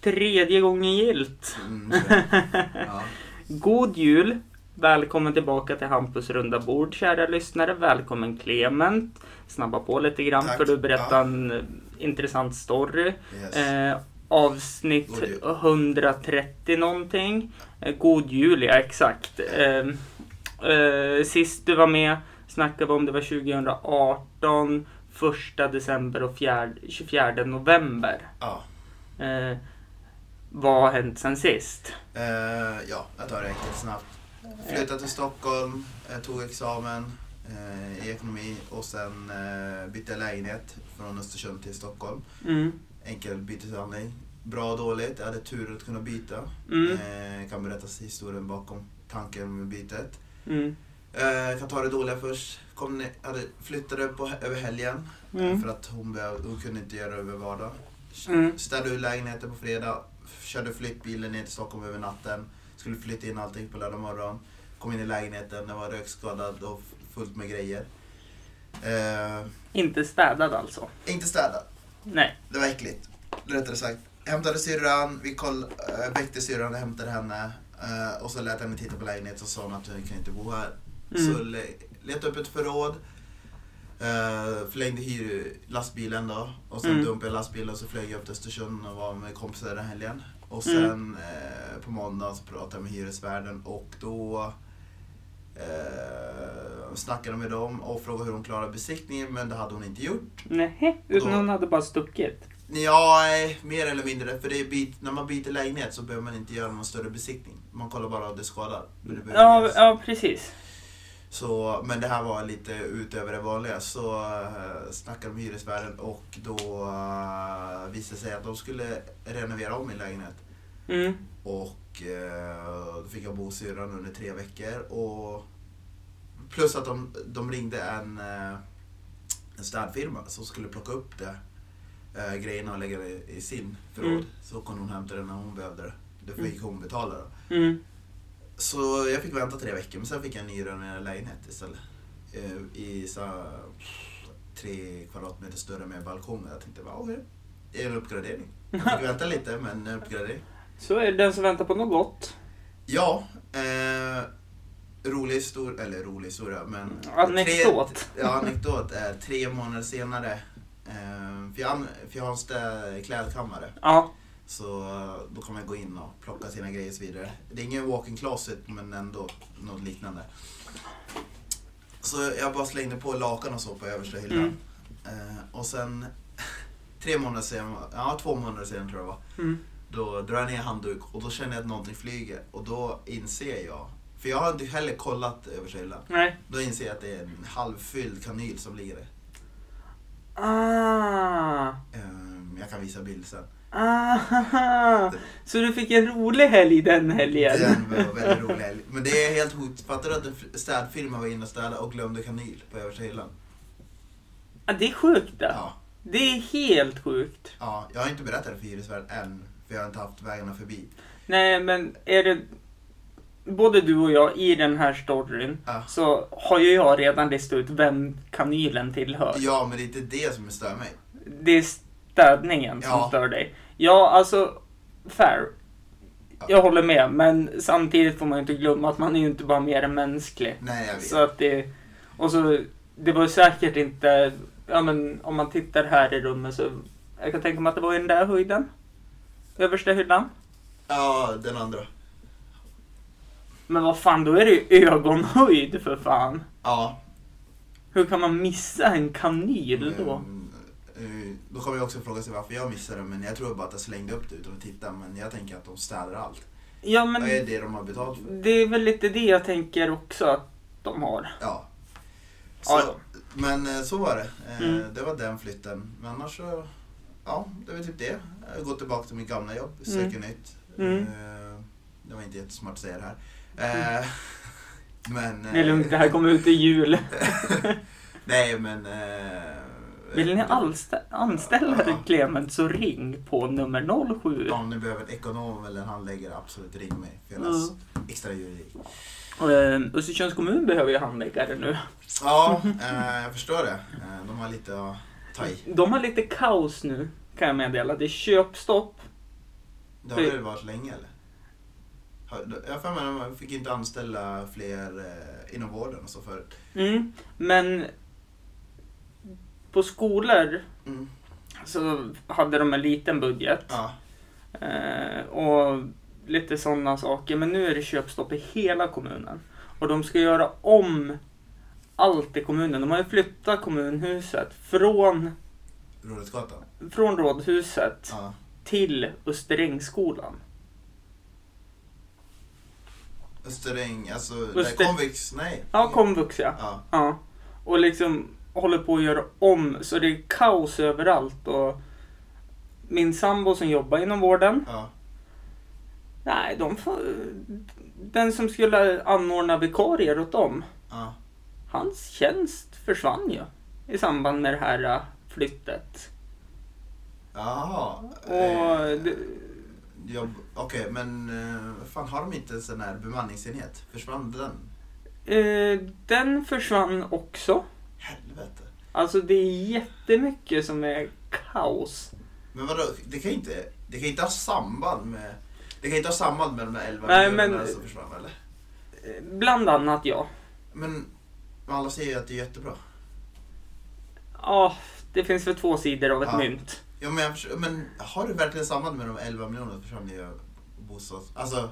Tredje gången gillt. Mm, så. ja. God jul! Välkommen tillbaka till Hampus runda bord, kära lyssnare. Välkommen Clement. Snabba på lite grann Tack. för du berättade Ja. en eh, intressant story. Yes. Eh, avsnitt God jul. 130 någonting. Eh, God jul, ja exakt. Eh, eh, sist du var med snackade vi om det var 2018, 1 december och 4, 24 november. ja. Eh, vad har hänt sen sist? Eh, ja, jag tar det enkelt snabbt. Flyttade till Stockholm, eh, tog examen eh, i ekonomi och sen eh, bytte lägenhet från Östersund till Stockholm. Mm. Enkel byteshandling. Bra och dåligt, jag hade tur att kunna byta. Mm. Eh, kan berätta historien bakom tanken med bytet. Mm. Eh, Jag kan ta det dåliga först. Kom ner, hade, flyttade på, över helgen eh, Mm. för att hon, behöv, hon kunde inte göra det över vardag. Mm. Städade ur lägenheten på fredag, f- körde flyttbilen ner till Stockholm över natten. Skulle flytta in allting på lördag morgon. Kom in i lägenheten, den var rökskadad och f- fullt med grejer. Eh, Inte städad alltså? inte städat, Nej. det var äckligt. Rättare sagt. Hämtade syrran, vi koll, eh, väckte syrran och hämtade henne. eh, och så lät henne titta på lägenheten och sa hon att hon kan inte bo här. Mm. Så le- letade upp ett förråd. eh, förlängde hyr lastbilen då. Och sen Mm. dumpade jag lastbilen och så flög jag upp till Östersund och var med kompisar den helgen. Och Mm. sen eh, på måndagen så pratade jag med hyresvärden och då eh, snackade jag med dem och frågade hur hon klarade besiktningen men det hade hon inte gjort. Nej, utan Då- hon hade bara stuckit. Ja, nej, eh, mer eller mindre. För det är bit, när man byter lägenhet så behöver man inte göra någon större besiktning. Man kollar bara att det skadar. Men det behöver Ja, göras. ja precis. Så, men det här var lite utöver det vanliga. Så uh, snackade de med hyresvärden och då eh, visade det sig att de skulle renovera om min lägenhet. Mm. Och eh, då fick jag bo hos syrran under tre veckor. Och plus att de, de ringde en, eh, en städfirma som skulle plocka upp det, eh, grejerna och lägga det i- i sin förråd. Mm. Så kunde hon hämta det när hon behövde det. Det fick hon betala då. Mm. Så jag fick vänta tre veckor men sen fick jag en nyrenoverad lägenhet istället. Eh, I så här, tre kvadratmeter större med balkong. Jag tänkte bara okej, det är en uppgradering. Jag fick vänta lite men en uppgradering. Så är det den som väntar på något gott. Ja, eh, rolig historia, eller rolig historia, men... Anekdot. Tre, ja, anekdot är tre månader senare. Eh, för, jag, an- för jag har en stä- klädkammare, Ja. så eh, då kan man gå in och plocka sina grejer och så vidare. Det är ingen walk-in closet, men ändå något liknande. Så jag bara slängde på lakan och så på översta hyllan. Mm. Eh, och sen, tre månader sen, ja två månader sen tror jag det var. Mm. Då drar jag ner handduk och då känner jag att någonting flyger och då inser jag, för jag har inte heller kollat över kylan, Nej. då inser jag att det är en halvfylld kanyl som ligger där. Ah. Ehm, jag kan visa bild sen. Aha. Ah. Så du fick en rolig helg den helgen? Den var väldigt rolig helg. Men det är helt hot. Fattar du att en f- städfirma var inne och städade och glömde kanyl på översta hyllan? Ja, det är sjukt det. Ja. Det är helt sjukt. ja. Jag har inte berättat det för hyresvärden än, för jag har inte haft vägarna förbi. Nej, men är det... Både du och jag i den här storyn Ja. så har ju jag redan listat ut vem kanylen tillhör. Ja, men det är inte det som stör mig. Det är städningen som Ja. stör dig. Ja, alltså, fair. Jag håller med, men samtidigt får man ju inte glömma att man är ju inte bara mer än mänsklig. Nej, jag vet. Så att det, och så, det var ju säkert inte, ja men om man tittar här i rummet så, jag kan tänka mig att det var i den där höjden. Översta hyllan. Ja, den andra. Men vad fan, då är det ju ögonhöjd för fan. Ja. Hur kan man missa en kanyl då? Mm, eh, Då kommer jag också fråga sig varför jag missade det, men jag tror bara att jag slängde upp det utan att titta. Men jag tänker att de städar allt. Ja Vad men är det de har betalt för? det är väl lite det jag tänker också att de har. Ja. Ja, Så, men eh, så var det. Eh, Mm. Det var den flytten. Men annars så, ja, det var typ det. Jag går tillbaka till mitt gamla jobb, söker nytt. Mm. Eh, Det var inte jättesmart att säga det här. Eh, Men... eh, Det är Mm. lugnt, det här kommer ut i jul. Nej, men... eh, Vill ni eh, allstä- anställa Ja. Clement så ring på nummer 07. Om ni behöver en ekonom eller en handläggare, absolut ring mig. För jag läser extra juridik. Eh, Östersunds kommun behöver ju handläggare nu. Ja, eh, jag förstår det. Eh, de har lite att ta i. De har lite kaos nu kan jag meddela. Det är köpstopp. Det har väl varit länge eller? Har- Jag har för mig att man fick inte anställa fler eh, inom vården och så förut. Mm, men på skolor Mm. så hade de en liten budget. Ja, Eh, och lite sådana saker. Men nu är det köpstopp i hela kommunen. Och de ska göra om allt i kommunen. De har ju flyttat kommunhuset från, Rådhusgatan. från Rådhuset Ja. till Österängsskolan. Österäng, alltså Öster- Öster... konvix, nej. Ja, komvux ja. Ja, ja. Och liksom håller på att göra om så det är kaos överallt. Och min sambo som jobbar inom vården ja. Nej, de får, den som skulle anordna vikarier åt dem, ja. hans tjänst försvann ju i samband med det här eh, flyttet. Jaha. Och Eh, det, jobb... Okej, men eh, vad fan har de inte en sån här bemanningsenhet? Försvann den? eh, den försvann också. Helvete. Alltså det är jättemycket som är kaos. Men vadå, det kan ju inte, det kan inte ha samband med... Det kan inte ha samband med de där 11 Nej, miljonerna men- som försvann eller? Eh, Bland annat jag. Men men alla säger ju att det är jättebra. Ja, det finns väl två sidor av ett Ja. mynt. Ja, men, jag förs- men har det verkligen samband med de 11 miljonerna som försvann i bostads... Alltså,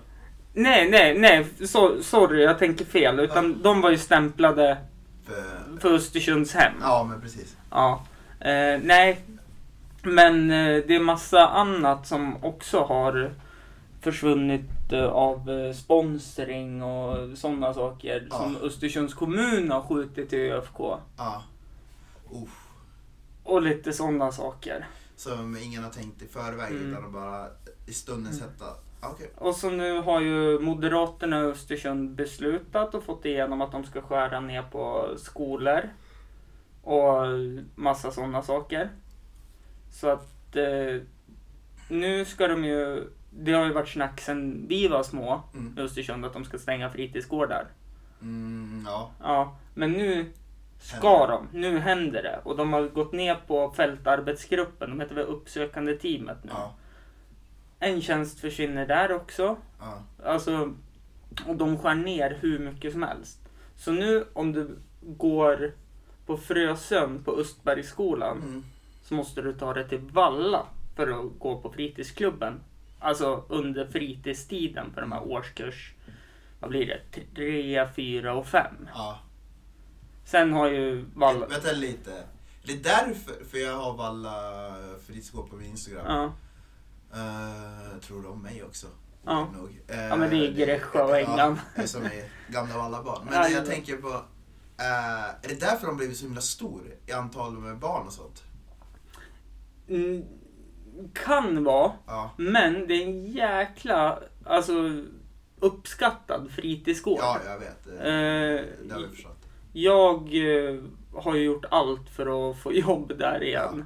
Nej, nej, nej. So, sorry, jag tänker fel. Utan de var ju stämplade för... för Östersundshem. Ja, men precis. Ja. Eh, nej. Men eh, det är massa annat som också har försvunnit eh, av eh, sponsring och sådana saker Ja. som Östersunds kommun har skjutit till ÖFK. Ja. Uff. Och lite sådana saker. Som ingen har tänkt i förväg Mm. utan de bara i stundens hetta. Ah, Okej. Och så nu har ju Moderaterna i Östersund beslutat och fått igenom att de ska skära ner på skolor. Och massa sådana saker. Så att eh, nu ska de ju... Det har ju varit snack sedan vi var små i Mm. Östersund att de ska stänga fritidsgårdar. Mm, ja. Ja, men nu ska Händer. de. Nu händer det. Och de har gått ner på fältarbetsgruppen. De heter väl uppsökande teamet nu. Ja. En tjänst försvinner där också. Ja. Alltså, och de skär ner hur mycket som helst. Så nu om du går på Frösön på Östbergsskolan Mm. så måste du ta dig till Valla för att gå på fritidsklubben. Alltså under fritidstiden för de här årskurs, vad blir det, 3, 4 och 5. ja. Sen har ju Valla... Vänta lite. Det är därför för jag har alla fritidsgård på min Instagram. Ja, Eh, tror de mig också? Ja. Nog. Eh, Ja, men det är Greksjö och England. Ja, som är gamla Vallabarn. Men Ja, jag det. tänker på, eh, är det därför de blivit så himla stor i antal med barn och sånt? Mm, kan vara, Ja, men det är en jäkla, alltså uppskattad fritidsgård. ja jag vet. Eh, Eh, det har vi förstått. Jag eh, har ju gjort allt för att få jobb där igen.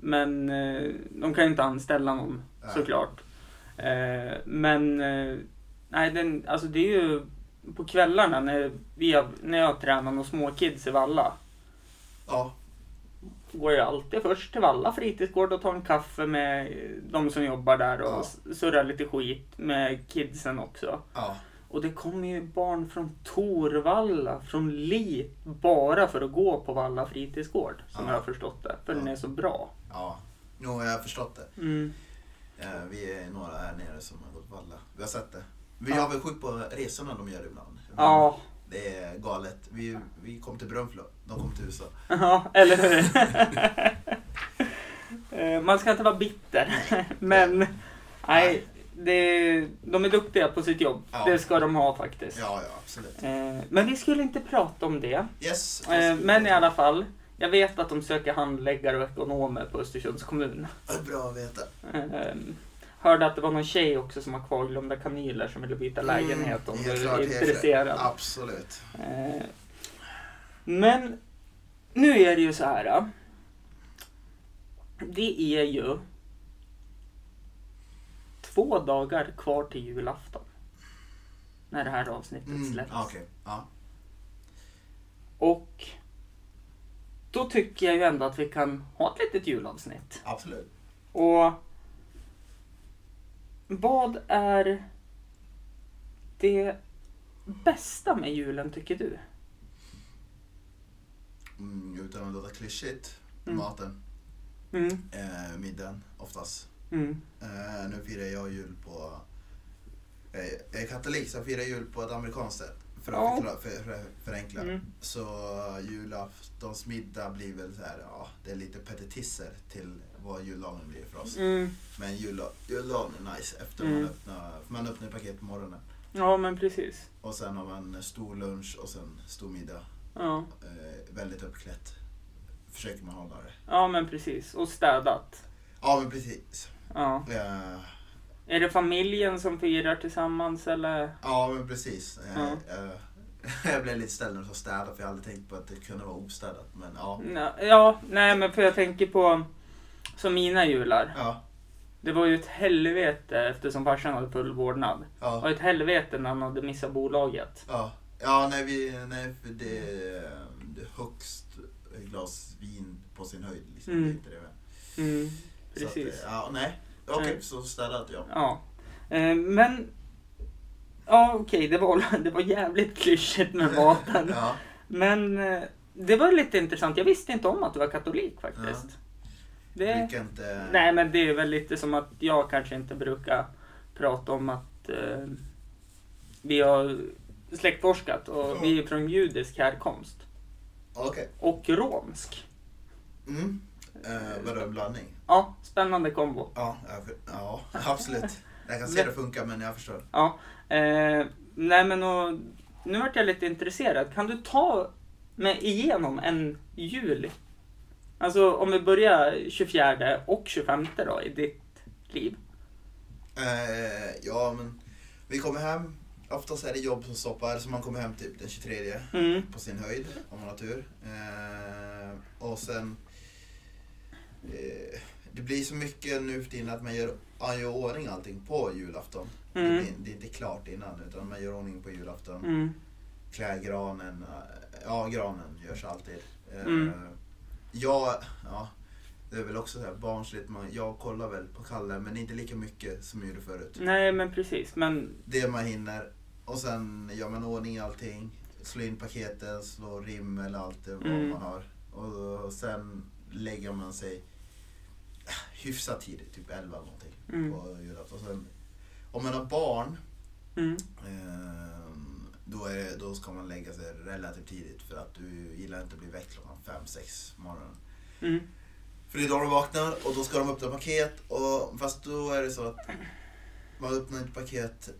Men eh, de kan ju inte anställa någon Nej. såklart. Eh, men eh, nej, den, alltså det är ju på kvällarna när, vi har, när jag tränar med småkids i Valla. Ja, Går jag alltid först till Valla fritidsgård och tar en kaffe med eh, de som jobbar där och Ja. s- surrar lite skit med kidsen också. ja. Och det kommer ju barn från Torvalla, från Lit, bara för att gå på Valla fritidsgård. Som Ja. jag har förstått det. För den Ja. är så bra. Ja, nu har jag förstått det. Mm. Eh, Vi är några här nere som har gått på alla. Vi har sett det. Vi Ja. är avundsjuka på resorna de gör ibland. Ja. Det är galet. Vi, vi kom till Brunflo, de kom till USA. ja, eller hur? Eh, Man ska inte vara bitter. Men nej, Nej. det, de är duktiga på sitt jobb. Ja. Det ska de ha faktiskt. Ja, ja, absolut. Eh, Men vi skulle inte prata om det. Yes. Eh, Men i alla fall, jag vet att de söker handläggare och ekonomer på Östersunds kommun. fall. Bra att veta. Ehm, hörde att det var någon tjej också som har kvarglömda kanyler som ville byta lägenhet om Mm, du helt klart, är helt klart. intresserad. Absolut. Ehm, men nu är det ju så här. ja. Det är ju två dagar kvar till julafton. När det här avsnittet Mm, släpps. Okej, ja. Och då tycker jag ju ändå att vi kan ha ett litet julavsnitt. Absolut. Och Vad är det bästa med julen tycker du? Mm, utan att låta klyschigt. Mm. Maten, Mm, eh, middagen oftast. mm, Eh, nu firar jag jul på... Eh, jag är katolik så jag firar jul på ett amerikanskt sätt. För att Ja. förklara- för, för, förenkla. mm, Så julaftonsmiddag blir väl så här, ja, det är lite petitisser till vad juldagen blir för oss. mm. Men jula, juldagen är nice efter Mm. man öppnar, för man öppnar paket på morgonen. Ja, men precis. Och sen har man stor lunch och sen stor middag. Ja. Eh, väldigt uppklätt. Försöker man hålla det. ja, men precis. Och städat. Ja men precis. Ja. Eh, Är det familjen som firar tillsammans eller? ja men precis. Eh, Ja. eh, jag blev lite ställd när du sa städa för jag hade tänkt på att det kunde vara ostädat. Men ja. Nä- Ja, nej men för jag tänker på som mina jular. Ja. Det var ju ett helvete eftersom farsan hade full vårdnad. ja. Och ett helvete när han hade missat bolaget. Ja, ja nej, vi, nej för det är eh, högst ett glas vin på sin höjd. Liksom. Mm. Det är inte det med. Mm, Så att, eh, precis. ja, nej, okej, Nej. så städat jag. Ja. Eh, Men... Ja, okej, det, var, det var jävligt klyschigt med maten. ja, Men eh, det var lite intressant. Jag visste inte om att du var katolik faktiskt. Det, brukar inte... nej, men det är väl lite som att jag kanske inte brukar prata om att eh, vi har släktforskat Ja. och vi är från judisk härkomst. Okej. Och romsk. Mm. Eh, vadå, en blandning? Ja, spännande kombo. Ja, jag, för- ja, absolut. Jag kan se det funkar, men jag förstår. Ja. Eh, nej men och, nu vart jag lite intresserad. Kan du ta mig igenom en jul? Alltså om vi börjar 24 och 25 då i ditt liv. Eh, ja, men vi kommer hem. Oftast är det jobb som stoppar, så man kommer hem typ den 23. Mm. på sin höjd om man har tur. Eh, och sen... Eh, det blir så mycket nu för tiden att man gör, man gör ordning allting på julafton. Det, Mm. blir, det är inte klart innan utan man gör ordning på julafton. Mm. Klär granen. eh, Ja, granen görs alltid. Eh, Mm. Jag... Ja, det är väl också så här barnsligt. Man, jag kollar väl på Kalle men inte lika mycket som jag gjorde förut. Nej men precis. Men Det man hinner. Och sen gör man ordning i allting. Slår in paketen, slår rim eller allt det vad Mm. man har. Och, och sen lägger man sig ah, hyfsat tidigt, typ 11 eller någonting. Mm. På julafton. Och sen, om man har barn, mm. ehm, då, är, det- då ska man lägga sig relativt tidigt för att du gillar inte att bli väckt klockan 5-6 morgonen. Mm. För det är då de vaknar och då ska de öppna paket. Och, fast då är det så att man öppnar inte paket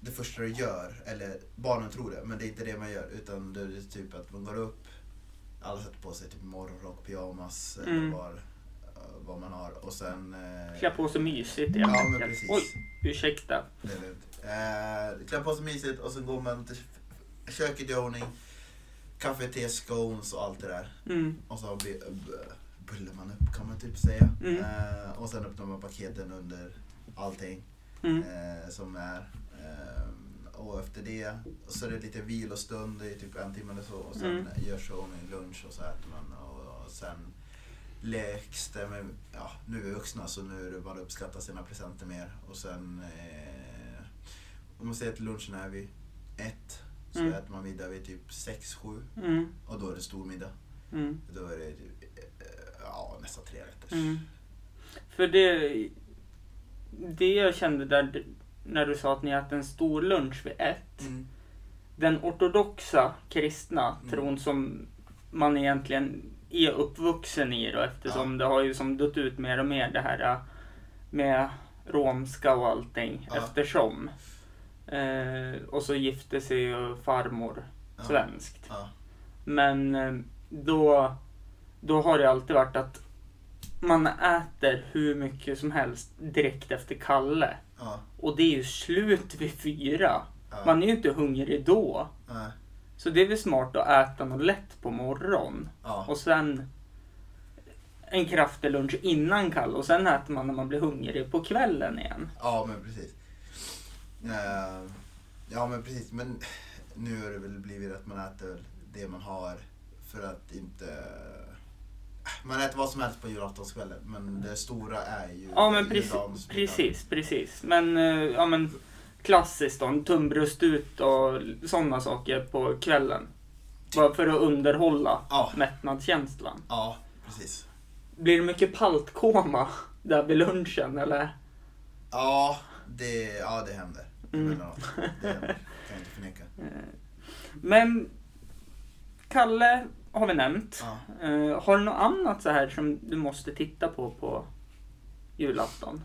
det första du gör. Eller barnen tror det, men det är inte det man gör. Utan det är typ att man går upp, alla sätter på sig typ morgonrock, pyjamas Mm. eller vad, vad man har. Och sen... eh, klä på sig mysigt helt Ja, men enkelt. precis. Oj, ursäkta. Det är lugnt. Eh, klär på sig mysigt och sen går man till köket, gör ordning. Kaffe, te, scones och allt det där. Mm. Och så b- b- bullar man upp kan man typ säga. Mm. Eh, och sen öppnar man paketen under allting Mm. eh, som är. Ehm, och efter det så är det lite vilostund, det är typ en timme eller så. Och sen Mm. görs det ordning lunch och så äter man. Och, och sen leks det med, ja nu är vi vuxna så nu är det bara att uppskatta sina presenter mer. Och sen eh, om man säger att lunchen är vid ett så Mm. äter man middag vid typ sex, sju Mm. och då är det stor middag. Mm. Då är det eh, ja, nästan tre rätter. Mm. För det, det jag kände där när du sa att ni äter en stor lunch vid ett. Mm. den ortodoxa kristna Mm. tron som man egentligen är uppvuxen i då eftersom det har ju som dött ut mer och mer det här äh, med romska och allting Ja. eftersom. Eh, och så gifte sig ju farmor Ja. svenskt. Ja. Men eh, då, då har det alltid varit att man äter hur mycket som helst direkt efter Kalle. Ja. Och det är ju slut vid fyra. Ja. Man är ju inte hungrig då. Ja. Så det är väl smart att äta något lätt på morgonen Ja. och sen en kraftig lunch innan kall och sen äter man när man blir hungrig på kvällen igen. ja, men precis. Eh, Ja, men precis. Men nu har det väl blivit att man äter det man har för att inte eh, Man äter vad som helst på julaftonskvällen men det stora är ju Ja men precis, julgransmiddagen. precis, precis. Men, eh, ja, men klassiskt då, en tunnbröst ut och sådana saker på kvällen. Bara för att underhålla Ja, mättnadskänslan. ja, precis. Blir det mycket paltkoma där vid lunchen eller? Ja, det, ja, det händer. Mm. Emellanåt. Det händer. kan jag inte förneka. Men Kalle har vi nämnt. Ja. Eh, har du något annat så här som du måste titta på på julafton?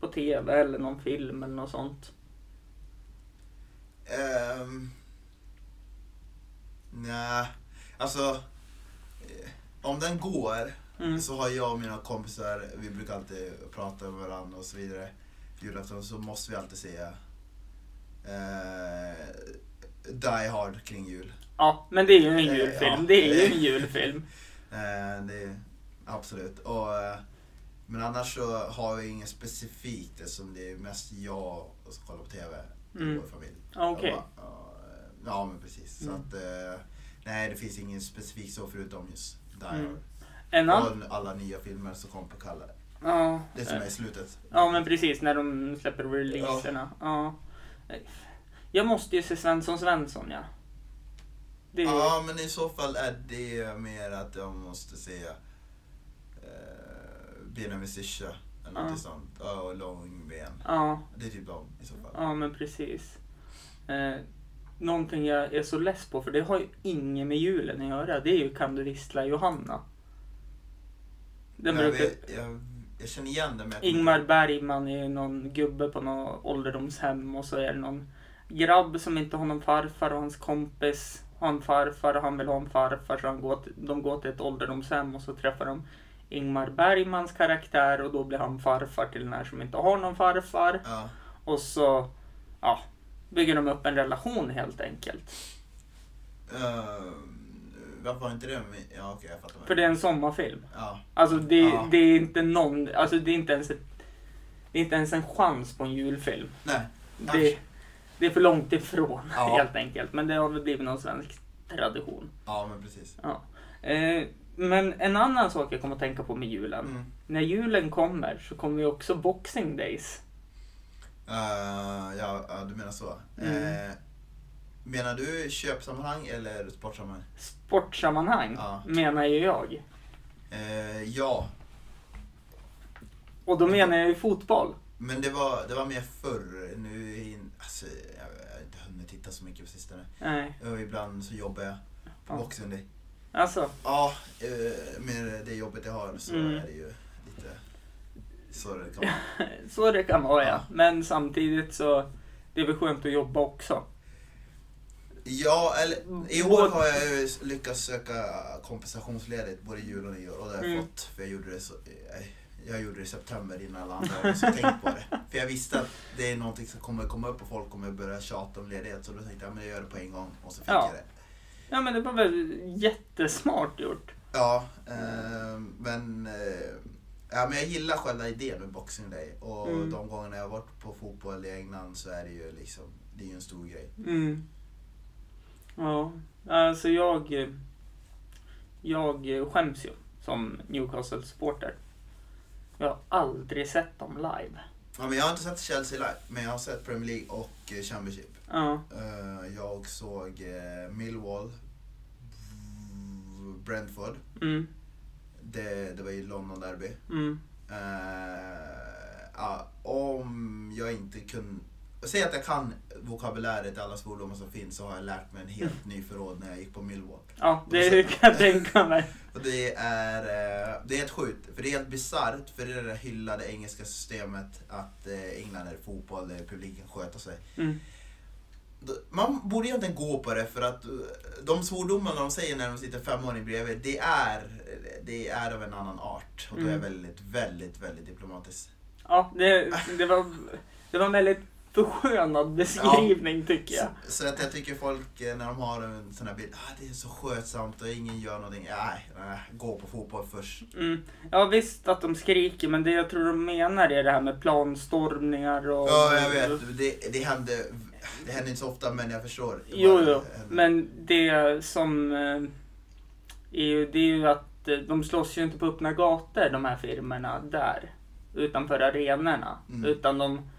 På TV eller någon film eller något sånt? Um, nej, alltså. eh, Om den går Mm. så har jag och mina kompisar, vi brukar alltid prata med varandra och så vidare. På julafton så måste vi alltid se eh, Die Hard kring jul. Ja, men det är ju Eh, en julfilm. ja. Det är ju en julfilm. Eh, det, absolut. Och, eh, men annars så har vi inget specifikt eftersom det är mest jag som kollar på TV i Mm. vår familj. Ja, Okej. Jag bara, Ja, eh, ja men precis. Så Mm. att, eh, nej det finns ingen specifik så förutom just Die Mm. Hard. En annan... Och alla nya filmer som kom på Kalle. Ja, Det som eh, är i slutet. ja, men precis. När de släpper releaserna. Ja. Eh, Jag måste ju se Svensson Svensson, ja. Det är ju... Ja men i så fall är det mer att jag måste se eh, Benjamin Syrsa eller Ja. något sånt. Ja, och Långben. Ja, Det är typ de i så fall. ja men precis. Eh, någonting jag är så less på, för det har ju inget med julen att göra, det är ju Kan du vissla Johanna. Den Nej, brukar... vi- jag, jag känner igen det men jag kommer Ingmar inte- Bergman är ju någon gubbe på något ålderdomshem och så är det någon grabb som inte har någon farfar och hans kompis har en farfar och han vill ha en farfar så han går till, de går till ett ålderdomshem och så träffar de Ingmar Bergmans karaktär och då blir han farfar till den här som inte har någon farfar Ja, och så ja, bygger de upp en relation helt enkelt. eh, varför var inte det med... Ja okej jag fattar. För det är en sommarfilm. Ja, Alltså det, Ja. det är inte någon, alltså det är inte ens ett, det är inte ens en chans på en julfilm. nej. Det, det är för långt ifrån Ja. helt enkelt. Men det har väl blivit någon svensk tradition. Ja men precis. Ja. Eh, men en annan sak jag kommer att tänka på med julen. Mm. När julen kommer så kommer ju också Boxing Days. Eh, ja, ja, du menar så. Mm. Eh, menar du köpsammanhang eller sportsammanhang? Sportsammanhang Ja. menar ju jag. Eh, ja, Och då menar jag ju fotboll. men det var, det var mer förr. Nu är in, alltså, jag jag har inte hunnit titta så mycket på sistone. Nej, Och ibland så jobbar jag på Ja. Boxing Day. alltså. Ja, eh, med det jobbet jag har så Mm. är det ju lite så det kan vara. Så det kan vara ja. Ja. Men samtidigt så det är väl skönt att jobba också. Ja, eller i år Både- har jag ju lyckats söka kompensationsledigt både jul och nyår och det har jag Mm. fått. För jag gjorde det, så, eh, jag gjorde det i september innan alla andra hade så tänkt på det. För jag visste att det är någonting som kommer komma upp och folk kommer börja tjata om ledighet. Så då tänkte jag men jag gör det på en gång och så fick Ja. jag det. Ja men det var väl jättesmart gjort. Ja, eh, men, eh, ja, men jag gillar själva idén med Boxing Day. Och Mm. de gångerna jag har varit på fotboll i England så är det ju liksom, det är ju en stor grej. Mm. Ja, alltså jag... Jag skäms ju som Newcastle-supporter. Jag har aldrig sett dem live. Ja, men jag har inte sett Chelsea live, men jag har sett Premier League och eh, Championship. Ja, Eh, jag såg eh, Millwall, v- Brentford. mm, Det, det var ju London Derby. mm, Eh, ja, om jag inte kunde... Säg att jag kan vokabuläret, alla svordomar som finns, så har jag lärt mig en helt ny förråd när jag gick på Millwall. ja det kan jag tänka mig. Och det är, eh, det är helt sjukt, för det är helt bisarrt för det är det där hyllade engelska systemet att eh, England är fotboll, där publiken sköter sig. Mm, Man borde egentligen gå på det för att eh, de svordomarna de säger när de sitter femåring bredvid, det är, eh, det är av en annan art. Och det är Mm. väldigt, väldigt, väldigt diplomatiskt. ja, det, det, var, det var en väldigt förskönad beskrivning tycker jag. Så, så att jag tycker folk eh, när de har en sån här bild, ah, det är så skötsamt och ingen gör någonting. Nej, nej, gå på fotboll först. Mm. Ja visst att de skriker men det jag tror de menar är det här med planstormningar och... Ja, jag vet. Det, det, händer, det händer inte så ofta men jag förstår. Jo, Vad jo. händer. Men det som eh, är ju, det är ju att att eh, de slåss ju inte på öppna gator de här firmorna där. Utanför arenorna. Mm. Utan de,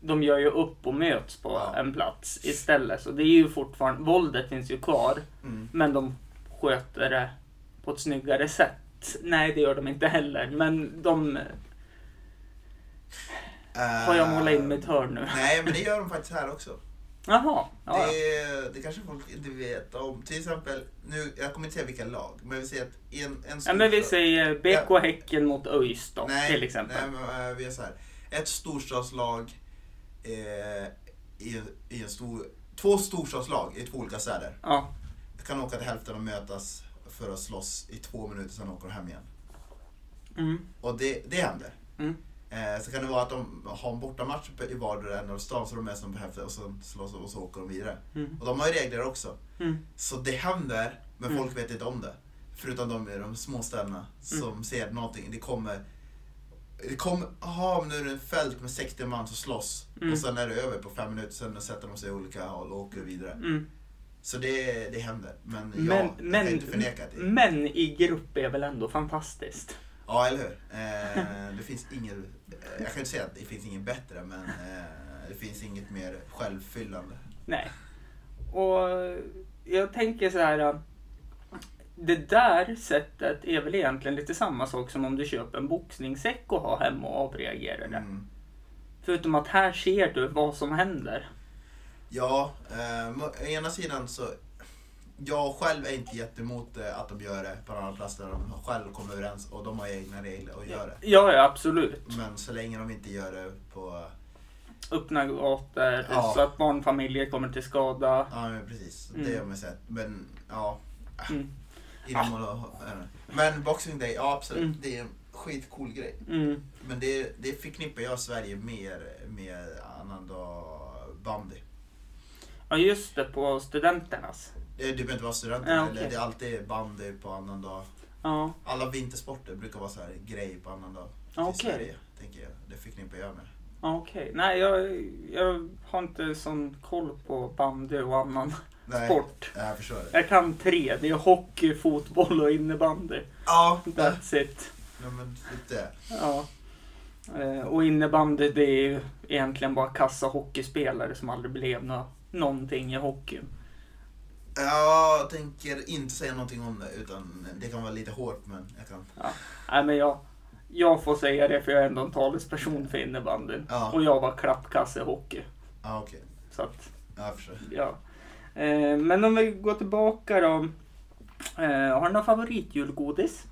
de gör ju upp och möts på Ja. en plats istället. Så det är ju fortfarande, våldet finns ju kvar. Mm. Men de sköter det på ett snyggare sätt. Nej, det gör de inte heller. Men de... Har jag målat in mitt hörn nu? Eh, Nej, men det gör de faktiskt här också. Jaha. Ja, ja. Det, det kanske folk inte vet om. Till exempel, nu, jag kommer inte säga vilka lag, men vi säger att i en, en ja, men vi storstad- säger BK Häcken mot ÖIS då, nej, till exempel. Nej, men, eh, vi är så här. Ett storstadslag eh, i, en- i en stor... Två storstadslag i två olika städer Ja, kan åka till hälften och mötas för att slåss i två minuter, sen åker de hem igen. mm, Och det, det händer. mm. Eh, så kan det vara att de har en bortamatch uppe i vardera änden av stan, så de är som på hälften och sen slåss och så åker de vidare. Mm. Och de har ju regler också. Mm. Så det händer, men Mm. folk vet inte om det. Förutom de i de små städerna som ser någonting. Det kommer... Det kommer, aha, men nu är det en fält med 60 man som slåss. Mm. Och sen är det över på fem minuter, sen sätter de sig i olika håll och åker vidare. Mm. Så det, det händer. Men, Men, ja, jag men, Mm. kan inte förneka det. men i grupp är väl ändå fantastiskt? Ja, eller hur? Eh, det finns ingen... eh, Jag kan inte säga att det finns ingen bättre, men eh, det finns inget mer självfyllande. Nej. Och jag tänker så här. Det där sättet är väl egentligen lite samma sak som om du köper en boxningssäck och har hemma och avreagerar det. Mm. Förutom att här ser du vad som händer. Ja, eh, må- å ena sidan så... Jag själv är inte jättemot eh, att de gör det på en annan plats där de själv kommer överens och de har egna regler och gör det. Ja, ja absolut. Men så länge de inte gör det på... Öppna gator Ja. så att barnfamiljer kommer till skada. Ja, men precis. Det Mm. har man sett. Men ja, Mm. inom och, eh, Men Boxing Day, ja absolut. Mm. Det är en skitcool grej. Mm. Men det, det förknippar jag Sverige mer med annandag bandy. Ja, just det, på studenternas. Det, det Eh, behöver inte vara studenter, Ja, okej. eller det är alltid bandy på annandag. Ja, Alla vintersporter brukar vara så här grej på annandag i Ja, okej. Sverige, tänker jag. Det förknippar jag med. ja, okej. Nej, jag, jag har inte sån koll på bandy och annan Nej, sport. Jag förstår det. Jag kan tre. Det är hockey, fotboll och innebandy. Ja, nej, That's it. men typ det. Ja. Eh, Och innebandy det är ju egentligen bara kassa hockeyspelare som aldrig blev nå- någonting i hockeyn. Jag tänker inte säga någonting om det, utan det kan vara lite hårt, men jag kan. Nej men jag, jag får säga det för jag är ändå en talesperson för innebandyn. Ja, Och jag var klappkasse i hockey. ja okej. Så att, Ja, jag förstår. ja. Eh, Men om vi går tillbaka då. Eh, Har du någon favoritjulgodis?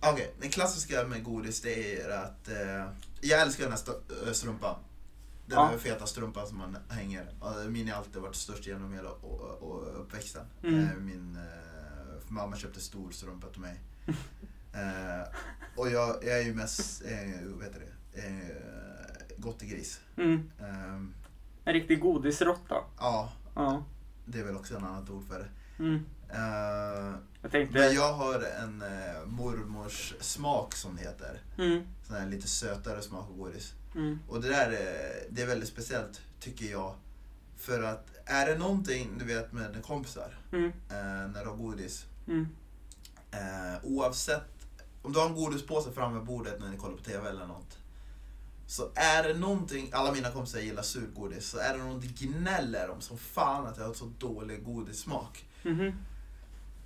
Okej, den klassiska med godis det är att eh, jag älskar den här st- eh, strumpan. Den Ja. här feta strumpan som man hänger. Ja, Min har alltid varit störst genom hela o- o- uppväxten. Mm. Eh, Min eh, mamma köpte stor strumpa till mig. eh, och jag, jag är ju mest, eh, vad heter det, eh, gris. Mm, Eh, en riktig godisrotta. ja, Ja. det är väl också ett annat ord för det. Mm. Eh, Jag tänkte... men jag har en eh, mormors smak som det heter. Mm, Sån här lite sötare smak av godis. mm, Och det där eh, det är väldigt speciellt tycker jag. För att är det någonting du vet med dina kompisar mm, eh, när du har godis. mm. Eh, oavsett om du har en godispåse framme vid bordet när ni kollar på TV eller något. Så är det någonting, alla mina kompisar gillar surgodis, så är det någonting gnäller om som fan att jag har så dålig godissmak. mhm.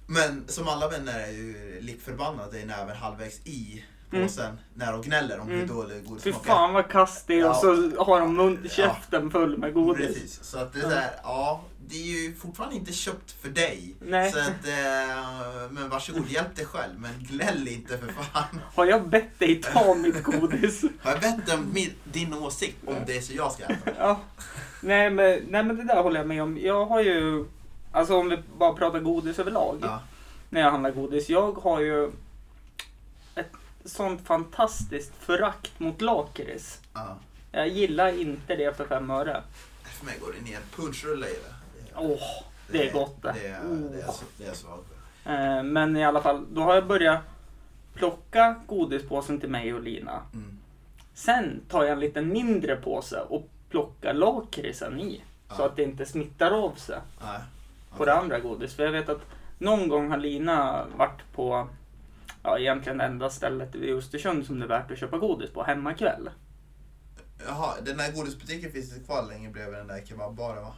Men som alla vänner är ju likförbannade, det är även halvvägs i påsen när de gnäller om hur Mm. dålig Fy godissmak är. fan vad kass det är och så har de mun- Ja. käften full med godis. Precis, så att det är Ja. så här, ja, det är ju fortfarande inte köpt för dig. Nej. Så att, eh, men varsågod, hjälp dig själv, men gnäll inte för fan. Har jag bett dig ta mitt godis? Har jag bett om min, din åsikt om det så jag ska äta? ja. nej, men, nej men det där håller jag med om. Jag har ju, alltså om vi bara pratar godis överlag. Ja. När jag handlar godis. Jag har ju ett sånt fantastiskt förakt mot lakrits. ja. Jag gillar inte det för fem öre. För mig går det ner en punschrulle i det. Åh, det är gott det. Det, är- det, är, det är svag. Eh, Men i alla fall, då har jag börjat plocka godispåsen till mig och Lina. Mm. Sen tar jag en liten mindre påse och plockar lakritsen i. Så Ja. att det inte smittar av sig Ja. på det andra godis. För jag vet att Någon gång har Lina varit på ja, egentligen det enda stället i Östersund som det är värt att köpa godis på, hemmakväll. Jaha, den där godisbutiken finns inte kvar längre bredvid den där kebabbaren va?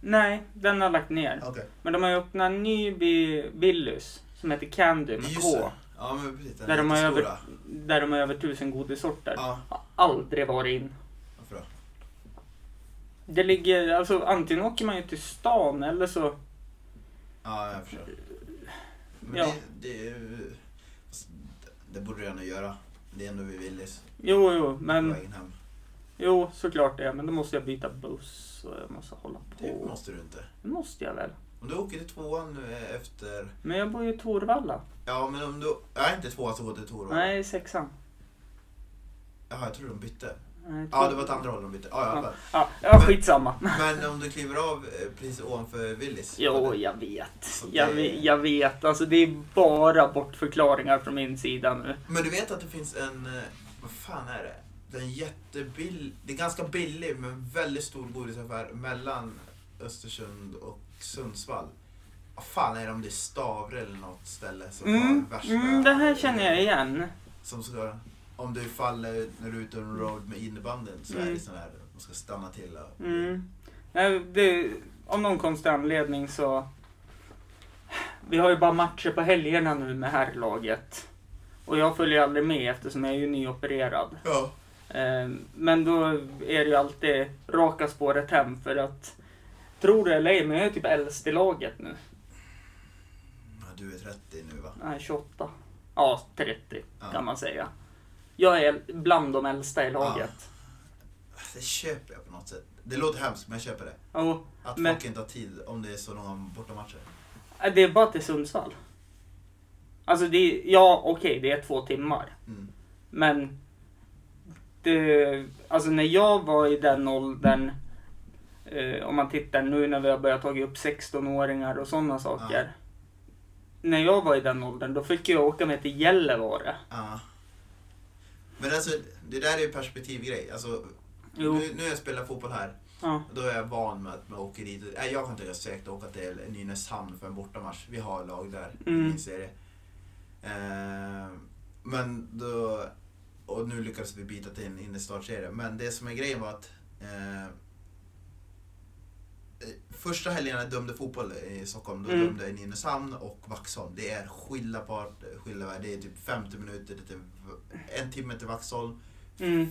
Nej, den har lagt ner. Okej. Men de har ju öppnat en ny bi- Billys som heter Candy med Just K. det. Ja men precis, den Där de, har över, jättestora. där de har över tusen godissorter. Ja, Har aldrig varit in. varför då? Det ligger, alltså antingen åker man ju till stan eller så... Ja, jag förstår. Men Ja. det, det, är ju- fast det borde du ändå göra. Det är ändå vid Willys Jo, jo, på men... vägen hem. Jo, såklart det. Men då måste jag byta buss och jag måste hålla Det på. måste du inte. Det måste jag väl. Om du åker till tvåan nu eh, efter... Men jag bor ju i Torvalla. Ja, men om du... Jag inte tvåan så går till Torvalla. Nej, sexan. Jaha, jag tror de bytte. Nej, Ja, Tor- det var åt andra hållet de bytte. Ja, i alla fall. Ja, ja, skitsamma. Men om du kliver av eh, precis ovanför Willys. Jo, jag vet. Så det- Jag, ve- jag vet. Alltså det är bara bortförklaringar från min sida nu. Men du vet att det finns en... eh, Vad fan är det? Den är jättebillig. Det är ganska billig men väldigt stor godisaffär mellan Östersund och Sundsvall. Vad fan är det om det är Stavre eller något ställe som Mm, har värsta... mm, det här känner jag igen. Som ska... Om du faller när du är ute on road med innebandyn så är Mm. det sån här... Man ska stanna till och... Mm. Nej, det, av någon konstig anledning så... Vi har ju bara matcher på helgerna nu med herrlaget. Och jag följer aldrig med eftersom jag är ju nyopererad. Ja. Eh, Men då är det ju alltid raka spåret hem för att... Tror det eller ej, men jag är typ äldst i laget nu. Ja, Du är 30 nu va? Nej, 28. Ja, 30 Ja. kan man säga. Jag är bland de äldsta i laget. Det köper jag på något sätt. Det låter hemskt men jag köper det. Och, Att Men- folk inte har tid om det är så långa bortamatcher. äh, det är bara till Sundsvall. Alltså, det är, ja okej, det är två timmar. Mm. Men det, alltså när jag var i den åldern, eh, om man tittar nu när vi har börjat ta upp 16-åringar och sådana saker. När jag var i den åldern, då fick jag åka med till Gällivare. Ja. Men alltså, det där är ju perspektivgrej. Alltså, Jo. nu, nu när jag spelar fotboll här, Ja. då är jag van med att man åker dit. Nej, jag kan inte säkert åka till Nynäshamn för en bortamatch. Vi har lag där i Mm. min serie. Ehm, men då... Och nu lyckades vi bita till en innerstartserie. Men det som är grejen var att... Eh, första helgen jag dömde fotboll i Stockholm, då Mm. dömde jag i Nynäshamn och Vaxholm. Det är skilda part, skilda värld. Det är typ 50 minuter till... En timme till Vaxholm, Mm.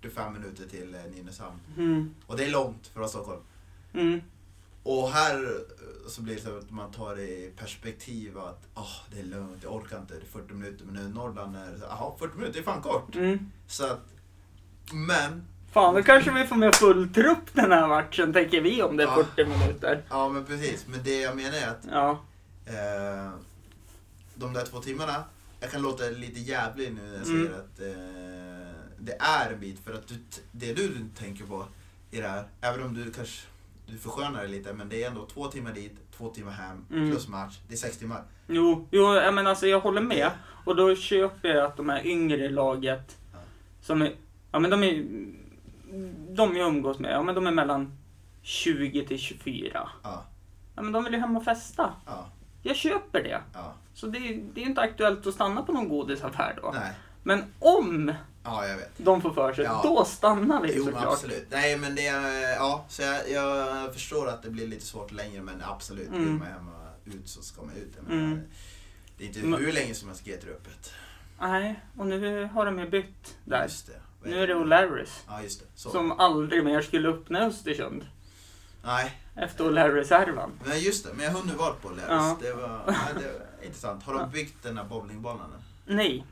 45 minuter till eh, Nynäshamn. Mm. Och det är långt för oss Stockholm. Mm. Och här eh, så blir det så att man tar det i perspektiv att ah det är lugnt, jag orkar inte, det är 40 minuter. Men nu i Norrland är det så, jaha 40 minuter, det är fan kort. Mm. Så att, men, Fan, då kanske vi får med full trupp den här matchen, tänker vi om det är Ja. 40 minuter. ja men precis. Men det jag menar är att Ja. eh, de där två timmarna, jag kan låta lite jävlig nu när jag Mm. säger att eh, det är en bit. För att du, t- det du tänker på i det här, även om du kanske du förskönar det lite, men det är ändå två timmar dit, två timmar hem, Mm. plus match. Det är sex timmar. Jo, jo jag, menar, alltså, jag håller med. Och då köper jag att de här yngre i laget, Ja. som är, ja, men de, är, de jag umgås med, ja, men de är mellan 20 till 24. Ja, Ja, men de vill ju hem och festa. ja, Jag köper det. ja. Så det, är- det är inte aktuellt att stanna på någon godisaffär då. Nej. Men om Ja, jag vet. de får för sig, Ja. då stannar vi Jo, men såklart. absolut. Nej, men det... eh, Ja, så jag, jag förstår att det blir lite svårt längre, men absolut. Mm. Vill man hem och ut så ska man ut. Jag menar, Mm. Det är inte Men- hur länge som helst Geter är öppet. Nej, och nu har de ju bytt där. Just det. Vad Nu är det O'Larrys. Ja, just det. Så. Som aldrig mer skulle öppna Östersund Nej, efter O'Larrys-härvan. men just det. Men jag har nu varit på Larrys. Ja. Det, var, ja, det var intressant. Har Ja. de byggt den här bowlingbanan? än? Nej,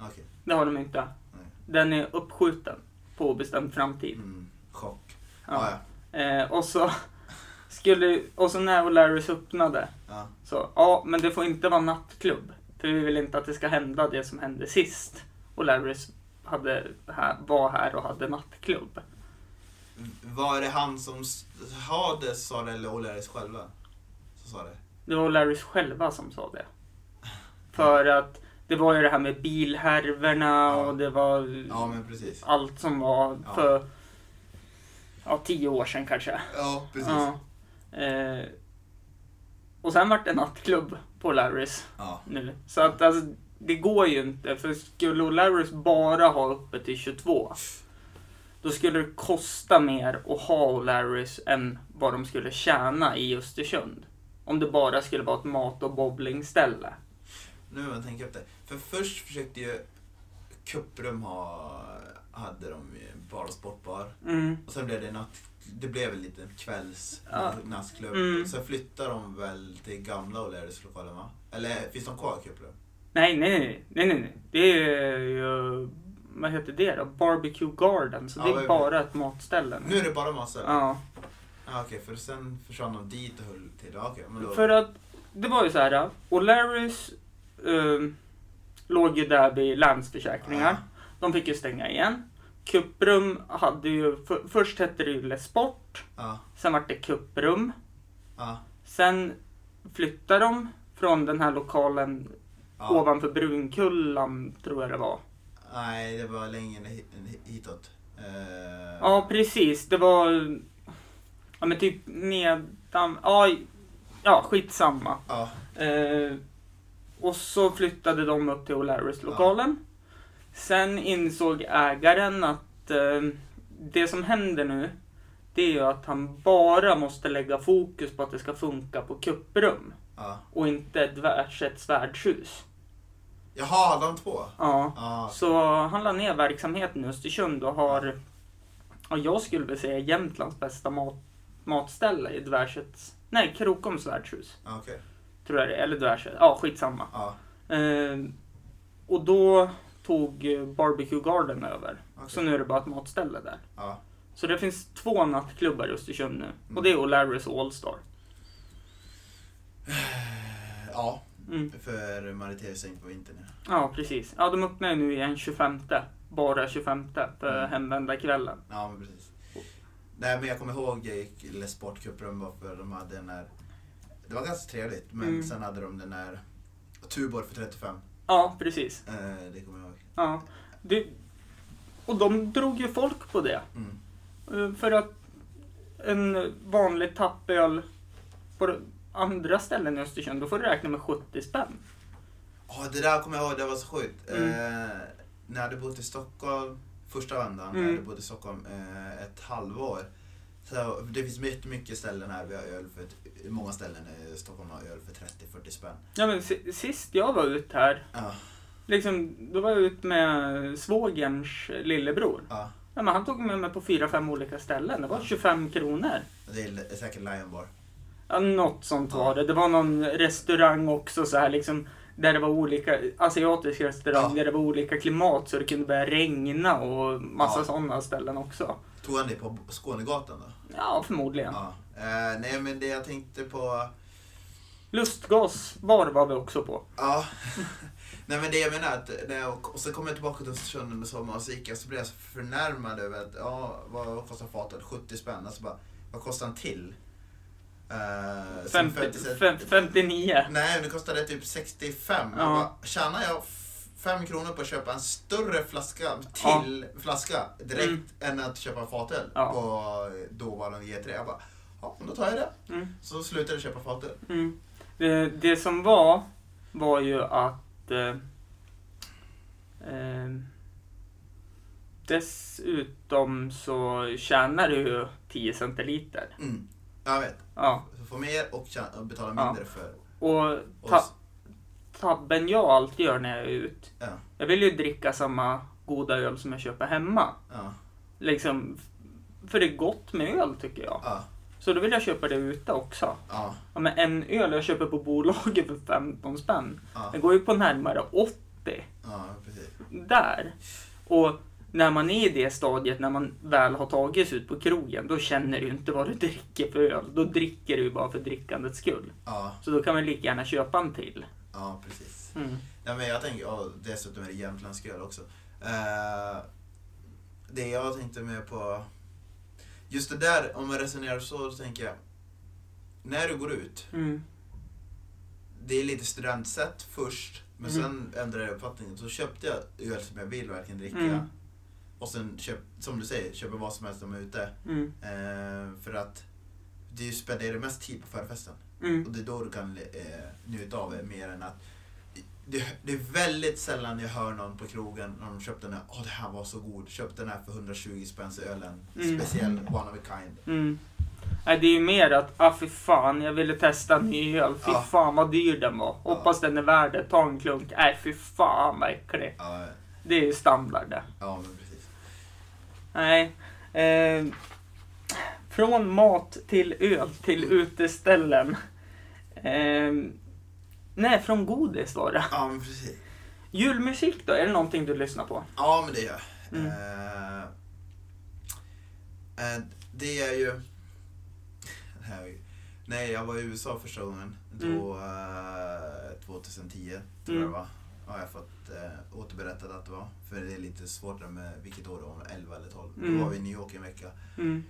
Okej. det har de inte. Nej. Den är uppskjuten på obestämd framtid. Mm, chock. Ja. Ja, Eh, och, så skulle, och så när O'Larrys öppnade ja. så, ja men det får inte vara nattklubb. För vi vill inte att det ska hända det som hände sist. O'Larrys hade, här, var här och hade nattklubb. ja. Var det han som s- har det, sa det, eller O'Larrys själva? Så sa det. Det var O'Larrys själva som sa det. För att det var ju det här med bilhärvorna och det var Ja, men precis. allt som var Ja. för ja, tio år sedan kanske. Ja, precis. Ja. Eh, Och sen vart det nattklubb på Larrys Ja. nu. Så att alltså, det går ju inte. För skulle O'Larrys bara ha öppet till 22, då skulle det kosta mer att ha O'Larrys än vad de skulle tjäna i Östersund. Om det bara skulle vara ett mat och bowlingställe. Nu har jag tänkt efter. För först försökte ju Cuprum ha, hade de ju bar och sportbar. Mm. Och sen blev det natt, det blev en liten kvälls, Ja. nattklubb. Mm. Sen flyttade de väl till gamla O'Learys lokalen va? Eller finns de kvar i Cuprum? Nej, nej, nej, nej, nej, nej. Det är ju... Vad heter det då? Barbecue Garden. Så Ja, det vad är är bara ett matställe. Nu är det bara massa. Ja. Ja. Ah, Okej, för sen försvann de dit och höll till. Ah, Okej, men då... För att det var ju så här. ja, O'Larrys um, låg ju där vid Länsförsäkringar. De fick ju stänga igen. Cuprum hade ju... För, först hette det ju Le Sport. Ja, Sen vart det Cuprum. ja, Sen flyttade de från den här lokalen ja. ovanför Brunkullan, tror jag det var. Nej, det var längre hit- hitåt. Eh, Ja, precis. Det var... Ja, men typ nedan... Ja, i- ja skitsamma. Ja, Eh, och så flyttade de upp till O'Larrys lokalen. Sen insåg ägaren att eh, det som händer nu, det är ju att han bara måste lägga fokus på att det ska funka på kupprum ja. och inte tvärs ett svärdshus. Jaha, de två? Ja. Ja, Så han la ner verksamheten i Östersund och har, ja, jag skulle vilja säga Jämtlands bästa mat, matställe i Dvärsets, nej Krokoms värdshus, ja, okej. tror jag det är, eller Dvärset, ja skitsamma. Ja, Eh, och då tog eh, Barbecue Garden över, så okej. nu är det bara ett matställe där. Ja. Så det finns två nattklubbar i Östersund nu, Mm. och det är O'Larrys Allstar. Eh, Ja, Mm. för Maritea är stängd på vintern. ja. Ja, precis. Ja, de öppnar ju nu igen 25, bara 25 för Mm. hemvända kvällen. Ja, men precis. Nej, men jag kommer ihåg jag gick i Les Sportcupen bara för de hade den där... Det var ganska trevligt, men Mm. sen hade de den där Tuborg för 35. Ja, precis. Eh, det kommer jag ihåg. Ja. Det, och de drog ju folk på det. Mm. Eh, För att en vanlig tappöl på de andra ställen i Östersund, då får du räkna med 70 spänn. Ja, det där kommer jag ihåg, det var så sjukt. Mm. Eh, när jag hade bott i Stockholm, första vändan, när jag Mm. hade bott i Stockholm eh, ett halvår. Så det finns jättemycket ställen här, vi har öl för, ett- många ställen i Stockholm har öl för 30-40 spänn. Ja, men si- sist jag var ut här, Ja, liksom, då var jag ut med svågerns lillebror. ja. Ja, men han tog med mig på fyra, fem olika ställen. Det var 25 kronor. Det är säkert Lion Bar. Ja, något sånt Ja. var det. Det var någon restaurang också så här liksom. Där det var olika, asiatisk restaurang, Ja. där det var olika klimat så det kunde börja regna och massa Ja. sådana ställen också. Tog han det på Skånegatan då? Ja, förmodligen. Ja. Eh, nej men det jag tänkte på... Lustgas var var vi också på. Ja. Nej men det jag menar är att när jag, och sen kom jag tillbaka till Östersund under sommaren och så gick jag så blev jag så förnärmad över att ja, vad kostar fatet? 70 spänn. Alltså bara, vad kostar en till? Uh, 50, fem- 59. Nej, men det kostade typ 65. Ja. Jag bara, tjänar jag 5 kronor på att köpa en större flaska Ja. Mm. till flaska direkt än att köpa en fatöl Ja. på dåvarande G3? Jag bara, ja, men då tar jag det. Mm. Så slutade jag köpa fatöl. Mm. Det, det som var, var ju att eh, eh, dessutom så tjänar du ju 10 centiliter. Mm. Jag vet. Ja. Få mer och tjä- och betala Ja. mindre för Och ta, oss. tabben jag alltid gör när jag är ut. Ja. Jag vill ju dricka samma goda öl som jag köper hemma. Ja, Liksom, f- för det är gott med öl tycker jag. ja, Så då vill jag köpa det ute också. ja, Ja, men en öl jag köper på bolaget för 15 spänn, ja, det går ju på närmare 80 ja, precis. där. Och när man är i det stadiet, när man väl har tagit sig ut på krogen, då känner du ju inte vad du dricker för öl. Då dricker du ju bara för drickandets skull. Ja, Så då kan man lika gärna köpa en till. ja, precis. Mm. Nej, men jag tänker, ja, dessutom är det jämtländsk öl också. Eh, det jag tänkte med på, just det där, om man resonerar så, så tänker jag, när du går ut, Mm. det är lite studentsätt först, men Mhm. sen ändrade jag uppfattningen. Så köpte jag öl som jag vill verkligen dricka. Mm. Och sen, köp, som du säger, köper vad som helst när man är ute. Mm. Eh, för att du spenderar mest tid på förfesten. Mm. Och det är då du kan eh, njuta av det mer än att det, det är väldigt sällan jag hör någon på krogen när de köpt den här, åh det här var så god, köp den här för 120 spänn så är ölen Mm. speciell, one of a kind. Mm. Nej, det är ju mer att, ah fy fan, jag ville testa en ny öl. Fy Ja. fan vad dyr den var. Ja. Hoppas den är värd det. Ta en klunk. Nej, fy fan vad äcklig. Ja, Det är ju standard det. ja men precis. Nej. Eh, från mat till öl till uteställen. Eh, nej, från godis var det. Ja men precis. Julmusik då? Är det någonting du lyssnar på? Ja, men det gör jag. Mm. Eh, eh, det är ju... det här är ju- Nej, jag var i USA första gången. Då, eh, 2010, tror jag Mm. det var. Har jag fått eh, återberättat att det var. För det är lite svårt där med vilket år det var, om det var 11 eller 12. Mm. Då var vi i New York en vecka. Mm.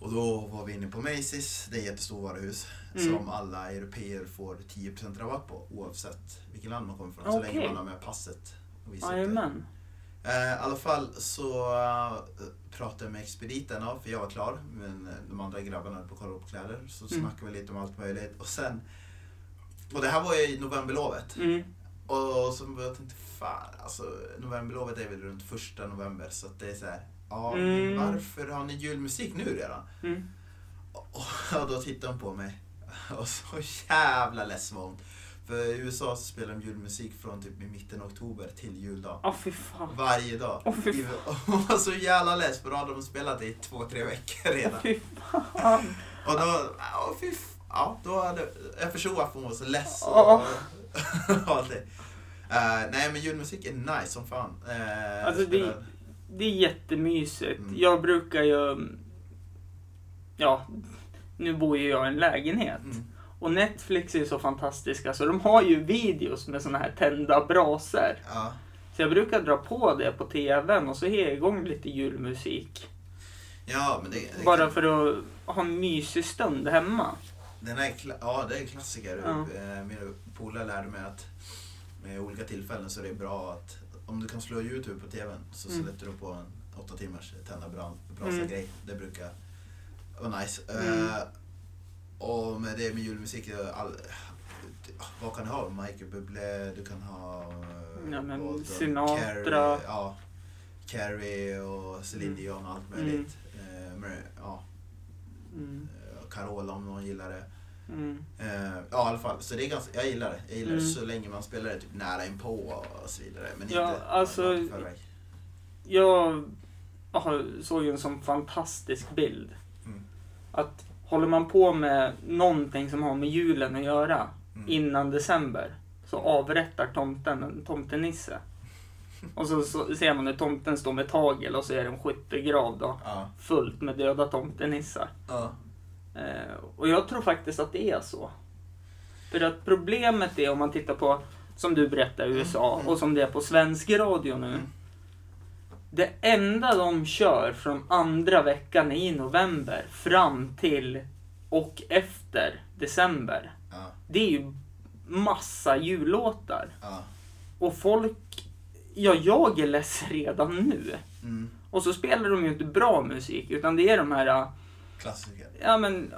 Och då var vi inne på Macy's, det är ett jättestort varuhus. Mm. Som alla europeer får 10% rabatt på oavsett vilket land man kommer från. Så länge Okej. man har med passet. och visat det. Jajamän. Eh, I alla fall så eh, pratade jag med expediten då, för jag var klar. Men eh, de andra grabbarna höll på att kolla upp kläder. Så Mm. snackade vi lite om allt möjligt. Och sen... Och det här var ju i novemberlovet. Mm. Och så jag tänkte fan, alltså novemberlovet är väl runt första november. Så att det är så här, ja, Mm. varför har ni julmusik nu redan? Mm. Och då tittade hon på mig. Och så jävla less var hon. För i USA så spelar de julmusik från typ i mitten av oktober till juldag. Åh fy fan. Varje dag. Åh, fy Hon var så jävla less för då hade de spelat i två, tre veckor redan. Åh, fy fan. Och då, åh, fy f- ja, då hade, jag förstod varför hon var så less. Och, Ja. och det. Eh, nej men julmusik är nice som fan. Eh, Alltså, det- spelar- Det är jättemysigt. Mm. Jag brukar ju... Ja, nu bor ju jag i en lägenhet. Mm. Och Netflix är ju så fantastiska så de har ju videos med såna här tända brasor. Ja. Så jag brukar dra på det på tvn och så har jag igång lite julmusik. ja men det, det Bara för att ha en mysig stund hemma. Den här, kla- ja, det är en klassiker. Ja. Eh, Min polare lärde mig att med olika tillfällen så är det bra att om du kan slå Youtube på TVn så Mm. sätter du på en åtta timmars tända bra- brasa Mm. grej. Det brukar vara nice. Mm. Eh, och med det med julmusik, eh, all, vad kan du ha? Michael Bublé, du kan ha... eh, Ja, men Walton, Sinatra. Carrie, ja, Carrie och Celine Mm. Dion och allt Mm. möjligt. Eh, men, ja, Mm. eh, Carola om någon gillar det. Mm. Eh, ja, i alla fall. Så det är ganska, jag gillar det. Jag gillar det Mm. så länge man spelar det typ nära inpå och så vidare. Men Ja, inte alltså- långt i förväg. Jag har- såg ju en sån fantastisk bild. Mm. Att håller man på med någonting som har med julen att göra Mm. innan december så avrättar tomten en tomtenisse. Och så, så ser man hur tomten står med tagel och så är det en skyttegrav då. Ja. fullt med döda tomtenissar. Ja. Eh, och jag tror faktiskt att det är så. För att problemet är om man tittar på, som du berättar, USA och som det är på svensk radio nu. Det enda de kör från andra veckan i november fram till och efter december, Ja. det är ju massa jullåtar. Ja. Och folk, ja jag är less redan nu. Mm. Och så spelar de ju inte bra musik utan det är de här eh, Klassiker. ja men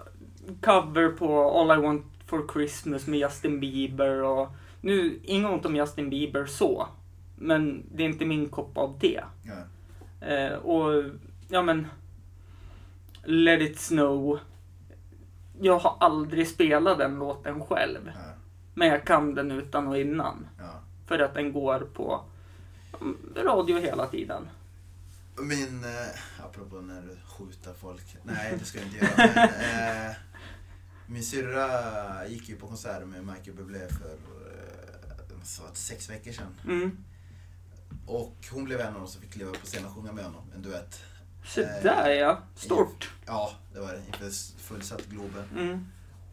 cover på All I Want For Christmas med Justin Bieber och nu, inget ont om Justin Bieber så, men det är inte min kopp av det. Ja. Eh, och ja men Let It Snow. Jag har aldrig spelat den låten själv, Ja. men jag kan den utan och innan Ja. för att den går på mm, radio hela tiden. Min, eh, apropå när du skjuter folk. Nej, det ska jag inte göra. Men, eh, min syrra gick ju på konsert med Michael Bublé för eh, så att sex veckor sedan. Mm. Och hon blev en av dem som fick kliva upp på scenen och sjunga med honom. En duett. Så där ja, stort. Ja, det var det. Inför fullsatt Globen. Mm.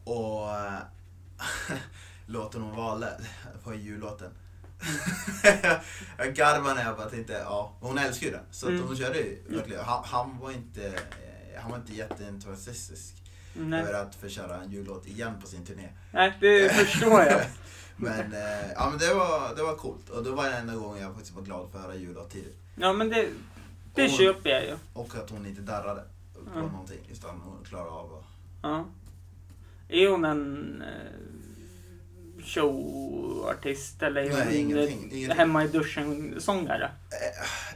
Och eh, låten hon valde var ju jullåten. jag garvade när jag bara tänkte, ja, hon älskar ju den. Så att Mm. hon körde ju verkligen. Han, han var inte, eh, han var inte jätteentusiastisk Nej. över att få köra en jullåt igen på sin turné. Nej, det förstår jag. men eh, ja, men det, var, det var coolt och det var den enda gången jag faktiskt var glad för att höra jullåt tidigt. Ja men det, det Och- köper jag ju. Och att hon inte darrade på Mm. någonting utan hon klarade av att... Ja. Är hon en eh, showartist eller är Nej, hon ingenting, en, ingenting. hemma i duschen-sångare?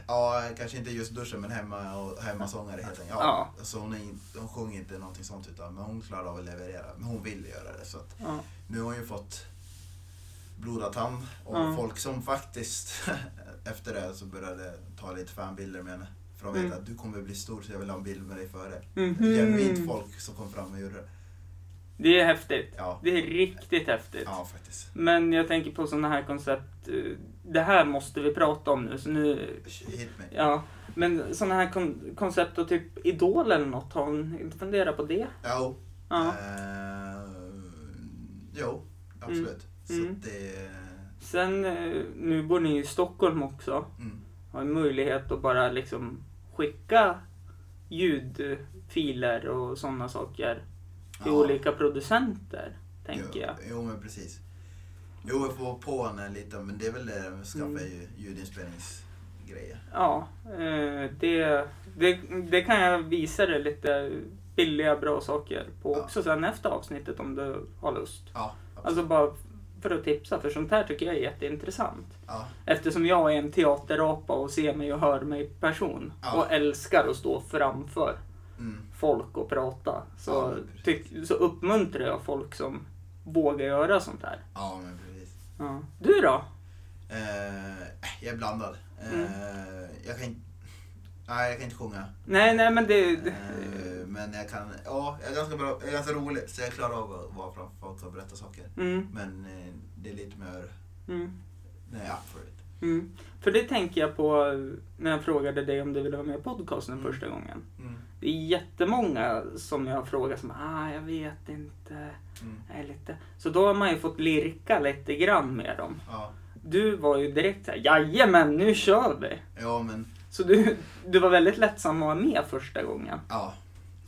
Ja, kanske inte just duschen men hemma och hemmasångare helt enkelt. Ja. Så hon, är, in- hon sjunger inte någonting sånt utan men hon klarar av att leverera. Men hon vill göra det. Så att Ja. nu har hon ju fått blodad tand och Ja. folk som faktiskt efter det så började ta lite fanbilder med henne. För de vet Mm. att du kommer bli stor så jag vill ha en bild med dig före. Mhm. Genuint folk som kom fram och gjorde det. Det är häftigt. Ja, Det är riktigt häftigt. ja faktiskt. Men jag tänker på sådana här koncept. eh, Det här måste vi prata om nu, så nu... Hit me. Ja. Men sådana här kon- koncept och typ Idol eller något, har hon inte funderat på det? Ja. Ja. Eh, jo, absolut. Så Mm. att det... Sen, eh, nu bor ni i Stockholm också. Mm. Har ju möjlighet att bara liksom skicka ljudfiler och sådana saker till Ja. olika producenter, tänker jo, jag. Jo, men precis. Jo, jag får på henne lite, men det är väl det de skaffar Mm. ju ljudinspelningsgrejer. Ja, eh, det, det, det kan jag visa dig lite billiga, bra saker på Ja. också sen efter avsnittet om du har lust. Ja, absolut. Alltså bara för att tipsa, för sånt här tycker jag är jätteintressant. ja, Eftersom jag är en teaterapa och ser mig och hör mig i person. Ja. Och älskar att stå framför mm, folk och prata. Så, Ja, men precis. tyck, så uppmuntrar jag folk som vågar göra sånt här. ja men precis. Ja. Du då? Eh, jag är blandad. Mm. Eh, jag kan inte... Nej, jag kan inte sjunga. Nej, nej men det... Eh, men jag kan... Ja, jag är ganska bra. Jag är ganska rolig, så jag klarar av att vara framför folk och berätta saker. Mm, Men eh, det är lite mer... mm. Nej, ja, för det. Mm. För det tänker jag på eh, när jag frågade dig om du ville vara med i podcasten Mm. första gången. Mm, Det är jättemånga som jag har frågat som ah, jag vet inte. mm, Jag är lite. Så då har man ju fått lirka lite grann med dem. ja. Du var ju direkt såhär, jajamän nu kör vi! ja, men... Så du, du var väldigt lättsam att vara med första gången. Ja.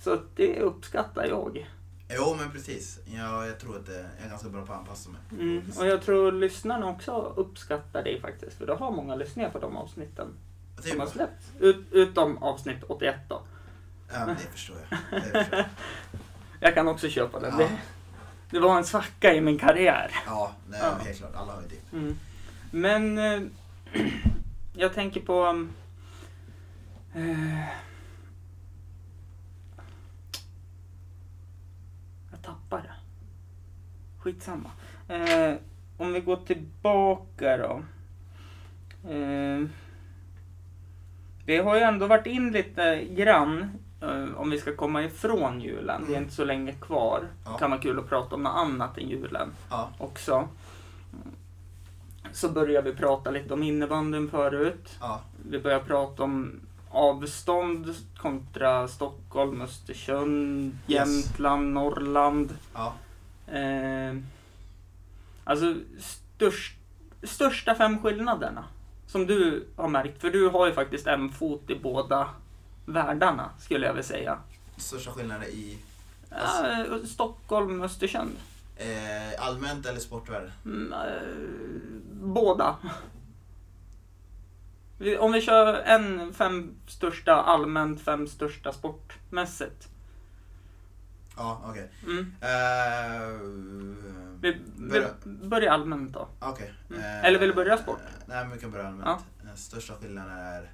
Så att det uppskattar jag. Jo men precis. Ja, jag tror att eh, jag är ganska bra på att anpassa mig. Mm. Och jag tror lyssnarna också uppskattar dig faktiskt. För du har många lyssningar på de avsnitten som Jag tänker har på- släppts. Ut, utom avsnitt 81 då. Ja, men det förstår jag. Det förstår jag. Jag kan också köpa den. Ja. Det, det var en svacka i min karriär. Ja, nej, Ja. helt klart. Alla har ju dipp. Mm. Men eh, jag tänker på... um, Eh, jag tappar det. Skitsamma. Eh, om vi går tillbaka då. Eh, vi har ju ändå varit in lite grann eh, om vi ska komma ifrån julen. Det är Mm. inte så länge kvar. Ja. Det kan vara kul att prata om något annat än julen Ja, också. Så börjar vi prata lite om innebandyn förut. ja, Vi börjar prata om avstånd kontra Stockholm, Östersund, Yes. Jämtland, Norrland. ja. Eh, alltså störst, största fem skillnaderna som du har märkt. För du har ju faktiskt en fot i båda världarna skulle jag vilja säga. Största skillnaden i Eh, Stockholm, Östersund. eh, allmänt eller sportvärlden? Mm, eh, båda. Vi- Om vi kör en fem största allmänt, fem största sportmässigt. Ja, okej. Mm. Eh, Vi, vi Börja. börjar allmänt då. okej. Mm. Eh, Eller vill du börja sport? eh, nej, men vi kan börja allmänt. Eh, Största skillnaden är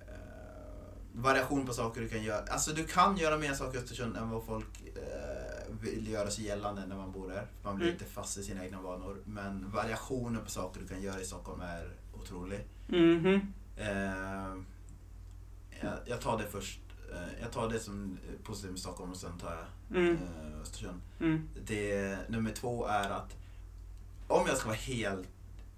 eh, variation på saker du kan göra. Alltså du kan göra mer saker i Östersund än vad folk eh, vill göra sig gällande när man bor där. Man blir Mm. inte fast i sina egna vanor. Men variationen på saker du kan göra i Stockholm är otrolig. Mhm. Eh, jag, jag tar det först. Eh, jag tar det som är positivt med Stockholm och sen tar jag Mm. eh, Östersund. Mm. Det, nummer två är att om jag ska vara helt,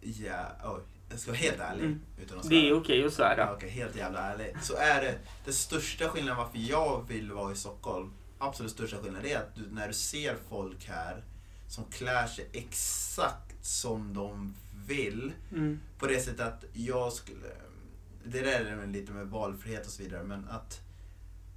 ja, oj, jag ska vara helt ärlig. Mm. Utan att Det är svära. okej att Ja, svära. okej, helt jävla ärlig. Så är det, den största skillnaden varför jag vill vara i Stockholm, absolut största skillnaden, det är att du, när du ser folk här som klär sig exakt som de vill Mm. på det sättet att jag skulle... Det där är väl lite med valfrihet och så vidare, men att,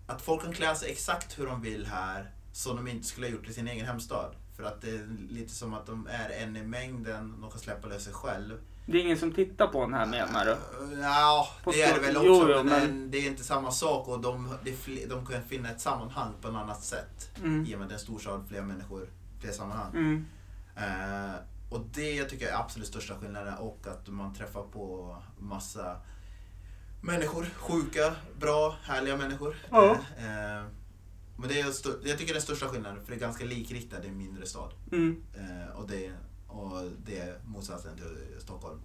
att folk kan klä sig exakt hur de vill här som de inte skulle ha gjort i sin egen hemstad. För att det är lite som att de är en i mängden, de kan släppa lös sig själv. Det är ingen som tittar på den här menar du? Ja, På det är det stor- väl också. jo, jo, men, men- det är inte samma sak och de, det är fl- de kan finna ett sammanhang på ett annat sätt. Mm. I och med att det är en storstad, fler människor, fler sammanhang. Mm. Eh, och det tycker jag är absolut största skillnaden och att man träffar på massa människor. Sjuka, bra, härliga människor. Ja. Eh, men det är stö- jag tycker det är den största skillnaden för det är ganska likriktat i en mindre stad. Mm. Eh, och, det, och det är motsatsen till Stockholm.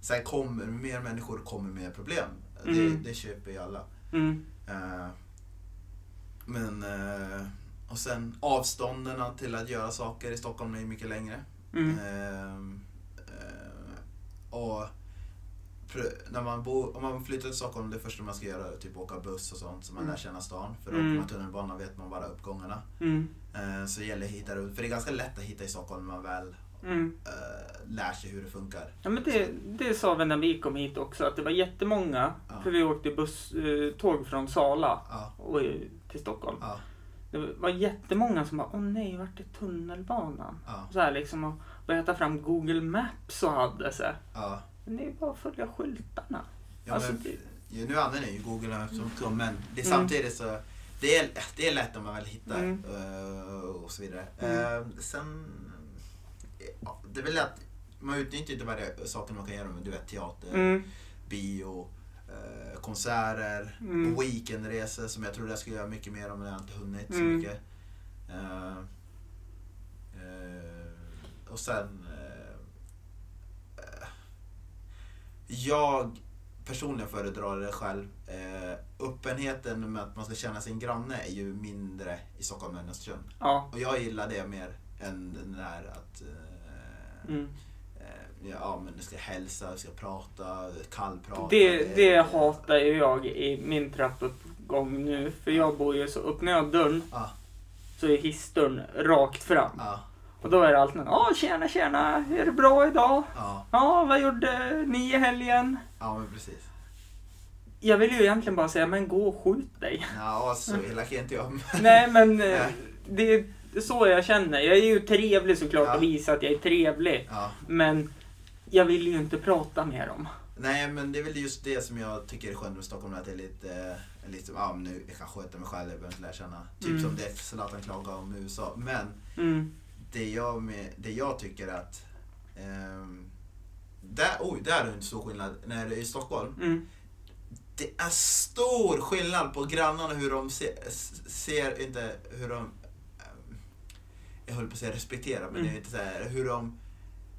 Sen kommer mer människor kommer mer problem. Mm. Det, det köper ju alla. Mm. Eh, men eh, och sen avstånden till att göra saker i Stockholm är ju mycket längre. Mm. Ehm, eh, och pr- när man bor, om man flyttar till Stockholm, det första man ska göra är typ åka buss och sånt så man Mm. lär känna stan. För Mm. åker man tunnelbana vet man bara uppgångarna. Mm. Eh, så det gäller att hitta runt, för det är ganska lätt att hitta i Stockholm när man väl Mm. eh, lär sig hur det funkar. Ja, men det, det sa vi när vi kom hit också, att det var jättemånga. Ja. För vi åkte buss, eh, tåg från Sala Ja, och, eh, till Stockholm. ja, Det var jättemånga som bara, åh nej, vart är tunnelbanan? ja, Så här liksom och började ta fram Google Maps och hade så. här. ja. Men det är ju bara att följa skyltarna. ja Alltså, men, det- ju, nu använder jag ju Google Maps som så, men det är Mm. samtidigt så det är, det är lätt när man väl hittar Mm. eh, och så vidare. Mm. Eh, sen, ja, det är väl att man utnyttjar inte varje saker man kan göra med du vet, teater, Mm, bio, eh, konserter, Mm. weekendresor som jag trodde jag skulle göra mycket mer om men jag har inte hunnit så Mm. mycket. Eh, eh, och sen... eh, eh, jag personligen föredrar det själv. Eh, öppenheten med att man ska känna sin granne är ju mindre i Stockholm än Östersund. ja. Och jag gillar det mer än den där att eh, Mm. Eh, Ja men du ska hälsa, du ska prata, kallprata. Det, det hatar ju jag i min trappuppgång nu. För jag bor ju så, öppnar jag dörren Ja, så är hissdörren rakt fram. ja, Och då är det alltid någon, ja tjena tjena, är det bra idag? ja, Ja, vad gjorde ni i helgen? ja men precis. Jag vill ju egentligen bara säga, men gå och skjut dig. Ja, så elak är inte jag. men- Mm. Nej, men eh, Nej. det är så jag känner. Jag är ju trevlig såklart Ja. och visar att jag är trevlig. Ja. Men jag vill ju inte prata med dem. Nej men det är väl just det som jag tycker är skönt med Stockholm, att det är lite, eh, liksom, ja men nu jag kan sköta mig själv, jag behöver inte lära känna. Typ Mm. som det Zlatan klagar om i USA. Men Mm. det jag, med, det jag tycker att, ehm, där, oj, där är det inte stor skillnad. När det är i Stockholm, Mm. Det är stor skillnad på grannarna hur de se, s- ser, inte hur de, ehm, jag höll på att säga respektera, men Mm. det är inte så här, hur de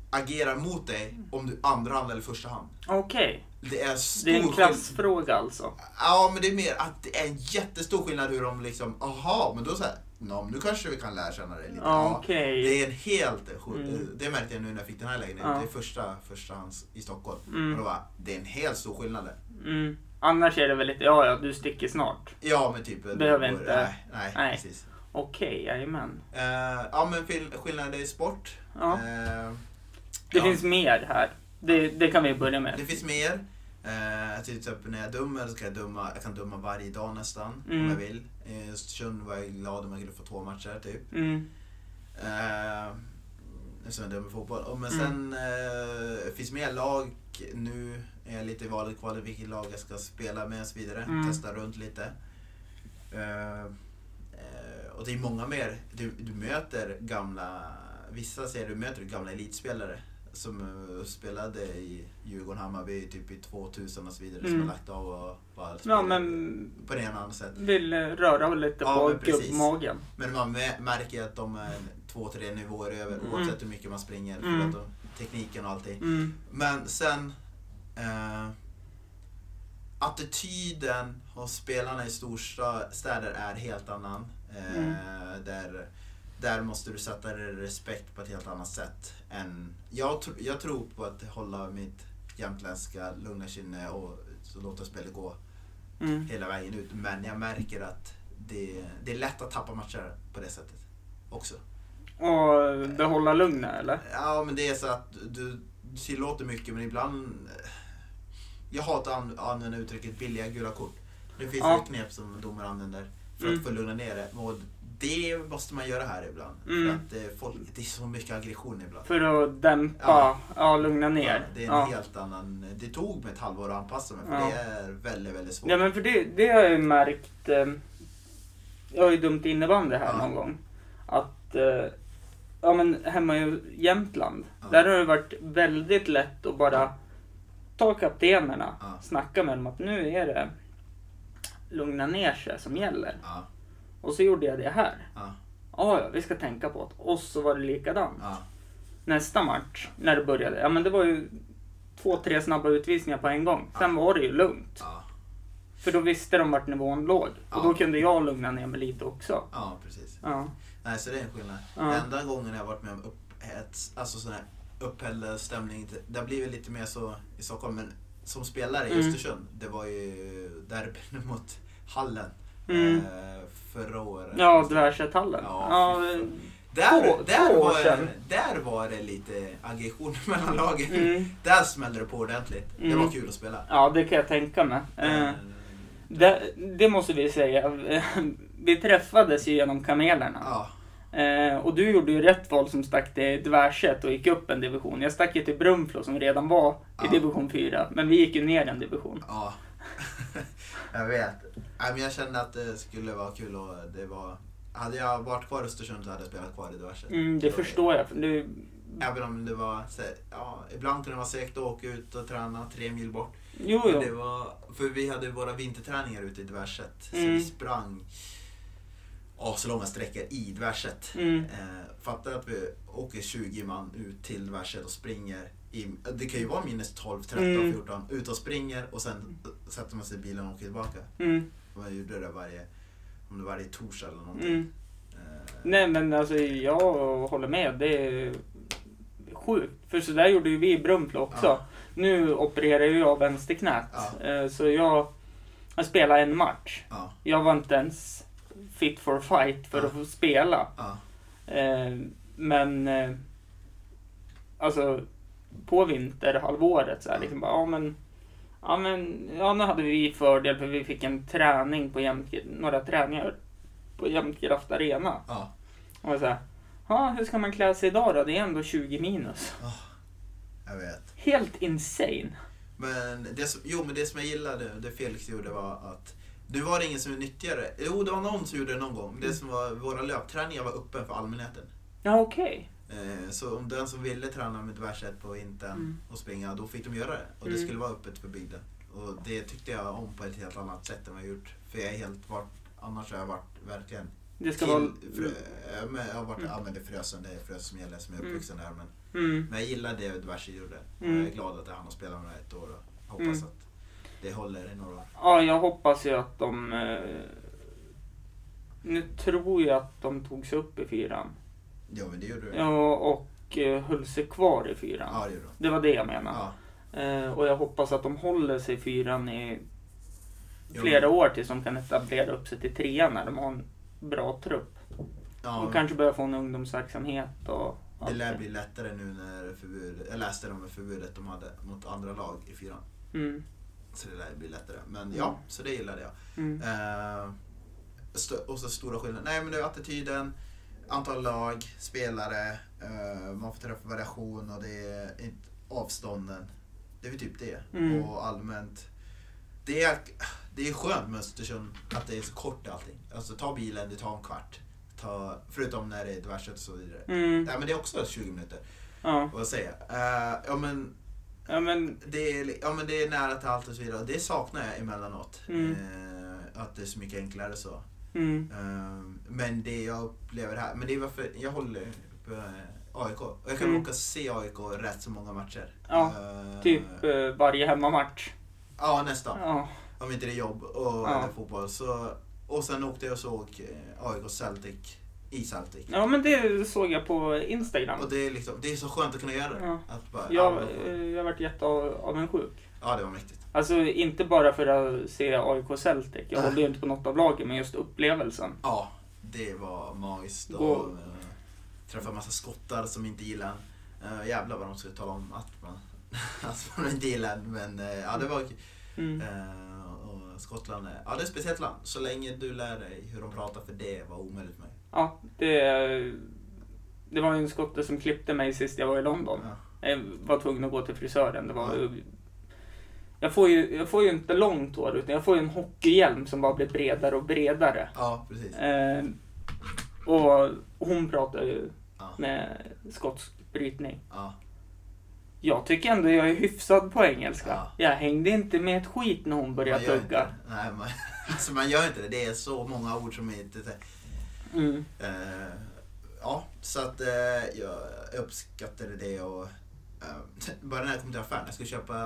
agerar mot dig om du andra hand eller första hand. Okej, Det är stor det är en skillnad. klassfråga alltså. Ja, men det är mer att det är en jättestor skillnad hur de liksom, aha, men då så här, "Nå, men nu kanske vi kan lära känna dig lite. Ja, Okej. Det är en helt sjuk, Mm. det märkte jag nu när jag fick den här lägenheten, Ja. det är första, första hands i Stockholm. Mm. Och då bara, det är en helt stor skillnad. där. Mm. Annars är det väl lite, ja ja, du sticker snart. Ja men typ. Behöver inte. Nej, nej, Nej. precis. Okej, jajamän. Eh, ja men fil- skillnaden är sport. Ja. Eh, Det ja, finns mer här. Det, det kan vi börja med. det finns mer. Uh, till exempel när jag dömer så kan jag döma, jag kan döma varje dag nästan Mm. om jag vill. I Östersund var jag glad om jag kunde få två matcher typ. Mm. Uh, eftersom jag dömer fotboll. Och, men Mm. sen eh, det finns mer lag nu. Är jag lite i valet och kvalet vilket lag jag ska spela med och så vidare. Mm. Testa runt lite. Eh, eh, och det är många mer. Du, du möter gamla, vissa säger du möter gamla elitspelare som eh, spelade i Djurgården, Hammarby typ i 2000 och så vidare. Som Mm. har lagt av och bara Ja, spelat men på det ena och andra sätt. vill eh, röra lite Ja, men på precis. gubbmagen. Men man mä- märker att de är två, tre nivåer över Mm. oavsett hur mycket man springer. För Mm. att de, tekniken och allting. Mm. Men sen... Eh, attityden hos spelarna i storstäder är helt annan. Eh, Mm. där, där måste du sätta dig i respekt på ett helt annat sätt. Än, jag, tr- jag tror på att hålla mitt jämtländska lugna kinne och så låta spelet gå Mm. hela vägen ut. Men jag märker att det, det är lätt att tappa matcher på det sättet också. Och behålla lugnet eller? Ja, men det är så att du du tillåter mycket, men ibland... eh, Jag hatar att an- använda uttrycket billiga gula kort. Det finns Ja. ett knep som domare använder för Mm. att få lugna ner det. Och det måste man göra här ibland. Mm. För att eh, folk, det är så mycket aggression ibland. För att dämpa, ja, Ja. lugna ner. Det är en ja. helt annan... Det tog mig ett halvår att anpassa mig för Ja. det är väldigt, väldigt svårt. Ja men för det, det har jag ju märkt. Eh, jag har ju dömt innebandy här Ja. någon gång. Att, eh, ja men hemma i Jämtland. Ja. Där har det varit väldigt lätt att bara ta kaptenerna. Ja. Snacka med dem att nu är det lugna ner sig som gäller. Ja, Och så gjorde jag det här. ja, Ja, ja, vi ska tänka på det. Och så var det likadant. ja, Nästa match, när det började, ja men det var ju två, tre snabba utvisningar på en gång. Sen var det ju lugnt. ja, För då visste de vart nivån låg. Och Ja. då kunde jag lugna ner mig lite också. ja precis. Ja. Nej, så det är en skillnad. Ja. Enda gången jag har varit med om upphets, alltså sån här upphälld stämning, det- det blir väl lite mer så i Stockholm, men som spelare i Mm. Östersund, det var ju derbyn mot Hallen Mm. eh, förra året. Ja, Dvärgsäthallen. Ja, Ja, fy eh, fan. Där, två- där, två år var, sedan. där var det lite aggression mellan lagen. Mm. Där smällde det på ordentligt. Det Mm. var kul att spela. ja, det kan jag tänka mig. Eh, Men, Det, det måste vi säga. Vi träffades ju genom Kamelerna. ja, Eh, Och du gjorde ju rätt val som stack till Dvärset och gick upp en division. Jag stack ju till Brunflo som redan var i Ja. division 4. Men vi gick ju ner en division. ja. jag vet. Nej, men jag kände att det skulle vara kul och det var... Hade jag varit kvar i Östersund så hade jag spelat kvar i diverse. Mm, det förstår jag. för Du, Även om det var... Så, ja, ibland kunde det vara segt att åka ut och träna tre mil bort. jo, Men jo. Det var, för vi hade ju våra vinterträningar ute i diverset. Så Mm. vi sprang ja, så långa sträckor i diverset. Mm. Eh, fattar att vi åker 20 man ut till diverset och springer. I, det kan ju vara minus 12, 13, Mm. 14. Ut och springer och sen sätter man sig i bilen och åker tillbaka. Mm, Man gjorde det varje, om det var varje torsdag eller någonting. mm. Eh, Nej men alltså jag håller med. Det är sjukt. För sådär gjorde ju vi i Brunflo också. Ja. Nu opererar ju jag vänsterknät. Ja. Eh, Så jag, jag spelade en match. ja, Jag var inte ens fit for fight för Ja. att få spela. ja, Eh, Men eh, alltså på vinterhalvåret så här, Ja. liksom bara, ja men Ja men, ja nu hade vi fördel för vi fick en träning på jämt, några träningar på Jämtkraft Arena. ja. Och så här, ja hur ska man klä sig idag då? Det är ändå 20 minus. Jag vet. Helt insane. Men det som, jo, men det som jag gillade, det Felix gjorde var att nu var det ingen som nyttjade det. Jo, det var någon som gjorde det någon gång. men Det som var, våra löpträningar var öppen för allmänheten. Ja okej. Eh, Så om den som ville träna med diverset på vintern Mm. och springa, då fick de göra det. Och det Mm. skulle vara öppet för bygden. Och det tyckte jag om på ett helt annat sätt än vad jag gjort. För jag är helt varit, annars har jag varit verkligen Det ska till, vara... frö, eh, men jag har varit, Mm. ja men det är Frösön, det är Frösön som gäller som jag är Mm. uppvuxen där. Men, Mm. men jag gillar det diverse gjorde. Mm. Och jag är glad att han har spelat med ett år och hoppas Mm. att det håller i några år. Ja, jag hoppas ju att de... Eh, nu tror jag att de tog sig upp i fyran. Ja men det gjorde du. Ja, och eh, höll sig kvar i fyran. Ja, det gjorde du. Det var det jag menade. Ja. Eh, och jag hoppas att de håller sig i fyran i Jo, flera men- år tills de kan etablera upp sig till trean när de har en bra trupp. Ja, Och kanske börja få en ungdomsverksamhet och... det allt lär bli lättare nu när förbud, jag läste om förbudet de hade mot andra lag i fyran. Mm. Så det lär bli lättare. Men ja, så det gillade jag. Mm. Eh, stö- och så stora skillnader. Nej men det är attityden, antal lag, spelare, eh, man får träffa variation och det är inte, avstånden. Det är väl typ det. Mm. Och allmänt. Det är, det är skönt med Östersund att det är så kort allting. Alltså ta bilen, det tar en kvart. Ta, förutom när det är diverse och så vidare. Mm. Nej men det är också 20 minuter. Ja. Vad säger jag? Eh, ja, men ja, men det är, li- ja men det är nära till allt och så vidare. Och Det saknar jag emellanåt. Mm. Eh, att det är så mycket enklare så. mm. Eh, men det jag upplever här, men det är varför jag håller på eh, AIK. Och jag kan Mm. åka se AIK rätt så många matcher. Ja, Eh, typ eh, varje hemmamatch. Ja nästan. Ja. Om inte det är jobb och Ja. eller fotboll. Så, och sen åkte jag och såg eh, AIK Celtic i Celtic. ja, men det såg jag på Instagram. Och det är, liksom, det är så skönt att kunna göra det. Ja. Att bara, ja, Jag, men då får- eh, jag varit jätteavundsjuk. ja det var mäktigt. Alltså inte bara för att se AIK Celtic. Jag Nej. håller ju inte på något av lagen, men just upplevelsen. Ja, det var magiskt. Gå- Och, eh, träffa en massa skottar som inte gillar en. Eh, jävlar vad de skulle tala om att man, att man inte gillar en. Men eh, ja, det var kul. Mm. Eh, och Skottland är, ja, det är ett speciellt land. Så länge du lär dig hur de pratar, för det var omöjligt för mig. ja, det, det var ju en skotte som klippte mig sist jag var i London. Ja. Jag var tvungen att gå till frisören. Det var, Ja. jag, får ju, jag får ju inte långt hår utan jag får ju en hockeyhjälm som bara blir bredare och bredare. ja, precis. Eh, och hon pratar ju Ja. med skotsk brytning. Ja. Jag tycker ändå jag är hyfsad på engelska. Ja. Jag hängde inte med ett skit när hon Man började gör inte tugga. det. Nej, man, alltså man gör inte det. Det är så många ord som inte... Mm. Eh, ja, så att eh, jag uppskattade det och eh, bara när jag kom till affären, jag skulle köpa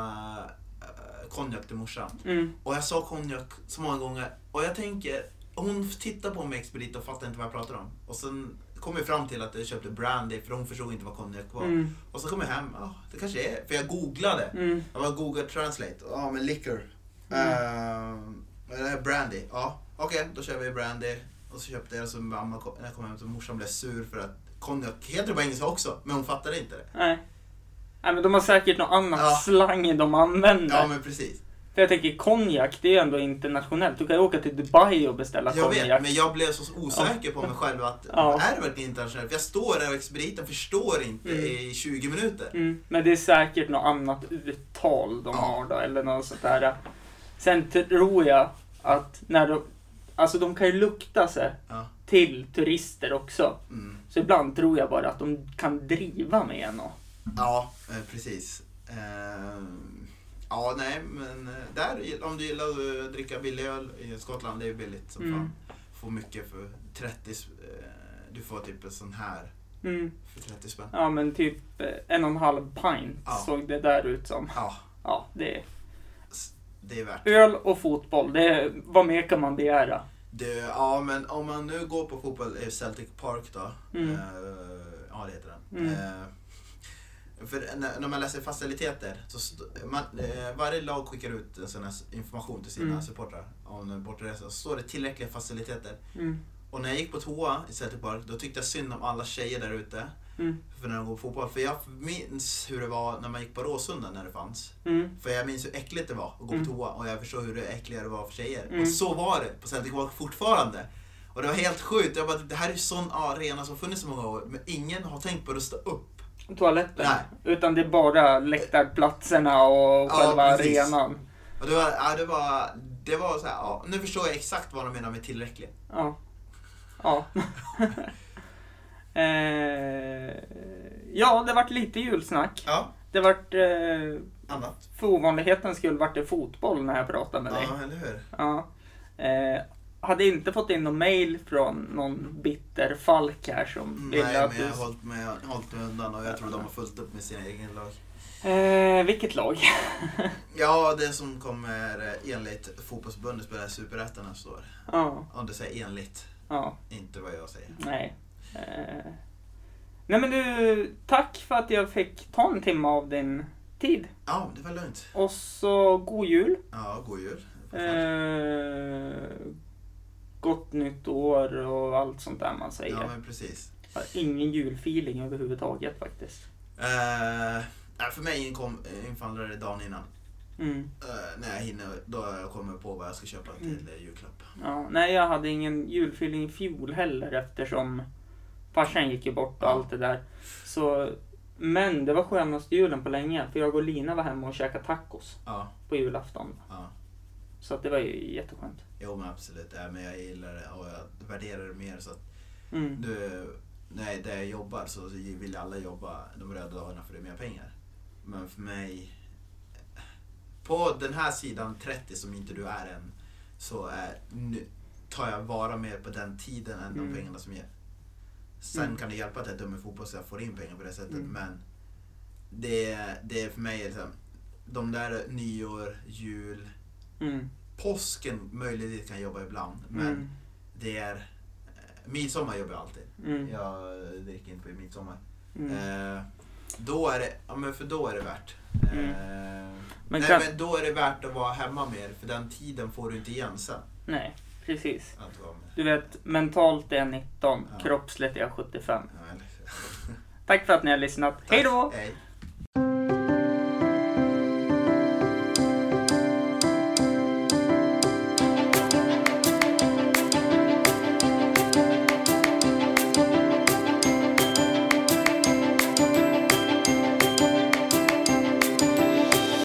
eh, konjak till morsan. Mm. Och jag sa konjak så många gånger och jag tänker, hon tittar på mig expedit och fattar inte vad jag pratar om. Och sen kom jag fram till att jag köpte brandy för hon förstod inte vad konjak var. Mm. Och så kom jag hem, ja det kanske är, för jag googlade. Mm. Jag var Google Translate, ja men liquor. Mm. Ehm, men det här är brandy, ja okej då kör vi brandy. Och så köpte jag det så mamma kom, när jag kom hem så morsan blev sur för att konjak heter det på engelska också, men hon fattade inte det. Nej. Nej, men de har säkert någon annan Ja. slang de använder. Ja men precis. För jag tänker konjak, det är ju ändå internationellt. Du kan ju åka till Dubai och beställa Jag konjak. vet, men jag blev så osäker på mig själv att Ja. är det verkligen internationellt? För jag står där och expediten förstår inte Mm. i 20 minuter. Mm, men det är säkert något annat uttal de Ja. har då, eller något sånt där. Sen tror jag att när de... Alltså de kan ju lukta sig Ja. till turister också. Mm. Så ibland tror jag bara att de kan driva med något. Ja, eh, precis. Ehm, ja, nej, men eh, där, om du gillar att eh, dricka billig öl i Skottland, det är billigt som Mm. fan. Får mycket för 30, eh, du får typ en sån här Mm. för 30 spänn. Ja men typ eh, en och en halv pint Ja. såg det där ut som. Ja, Ja, det är det är värt. öl och fotboll. Det är, vad mer kan man begära? Du, ja, men om man nu går på fotboll i Celtic Park då. Mm. Eh, ja, det heter den. Mm. Eh, för när, när man läser faciliteter, så st- man, eh, varje lag skickar ut en sån här information till sina Mm. supportrar om en bortaresa. Så står det tillräckliga faciliteter. Mm. Och när jag gick på toa i Celtic Park, då tyckte jag synd om alla tjejer där ute. Mm. För när de går på fotboll. För jag minns hur det var när man gick på Råsunda när det fanns. Mm. För jag minns hur äckligt det var att gå på Mm. toa och jag förstår hur det äckligare det var för tjejer. Mm. Och så var det på Celtic Park fortfarande. Och det var helt sjukt. Jag bara, det här är ju sån arena som funnits så många år. Men ingen har tänkt på att rusta upp. Toaletten. Nej. Utan det är bara läktarplatserna och Ja, själva precis. arenan. Och det var, ja, det var, det var så här, ja, nu förstår jag exakt vad de menar med tillräckligt. Ja. Ja. eh, ja, det vart lite julsnack. Ja, Det vart, eh, annat. för ovanlighetens skull, vart det fotboll när jag pratade med dig. Ja, eller hur? Ja. Eh, hade inte fått in någon mail från någon bitter falk här som ville Mm. Nej, att men jag du... har hållit mig, hållit mig undan och jag tror de har fullt upp med sina egna lag. Eh, vilket lag? Ja, det som kommer eh, enligt fotbollsförbundet spela i Superettan nästa år. ja, Om du säger enligt, ja, inte vad jag säger. nej. Eh, nej men du, tack för att jag fick ta en timme av din tid. Ja, det var lugnt. Och så god jul. Ja, god jul. Eh, gott nytt år och allt sånt där man säger. Ja, men precis. Jag har Ingen julfeeling överhuvudtaget faktiskt. Eh, nej, för mig inkom, infaller det dagen innan. Mm. Eh, när jag hinner, då jag kommer på vad jag ska köpa till eh, julklapp. Ja, nej, jag hade ingen julfeeling i fjol heller eftersom farsan gick ju bort och allt det där. Så, men det var skönaste julen på länge för jag och Lina var hemma och käkade tacos Ja, på julafton. ja. Så att det var ju jätteskönt. Jo men absolut, Nej, men jag gillar det och jag värderar det mer så att Mm. du, nej, där jag jobbar så vill alla jobba de röda dagarna för det är mer pengar. Men för mig, på den här sidan 30 som inte du är än, så är, nu tar jag vara mer på den tiden än de Mm. pengarna som ger. Sen Mm. kan det hjälpa att jag är dum i fotboll så jag får in pengar på det sättet Mm. men det, det är för mig liksom, de där nyår, jul, Mm. påsken möjligtvis kan jag jobba ibland men Mm. det är, eh, midsommar jobbar jag alltid. Mm. Jag eh, dricker inte på midsommar. Mm. Eh, då är det, ja men för då är det värt. Eh, Mm. Men nej kan- men då är det värt att vara hemma mer för den tiden får du inte igen sen. Nej, precis. Att vara med. Du vet, mentalt är jag 19, Ja. kroppsligt är jag 75. Ja, eller- Tack för att ni har lyssnat. Hej då! Hej.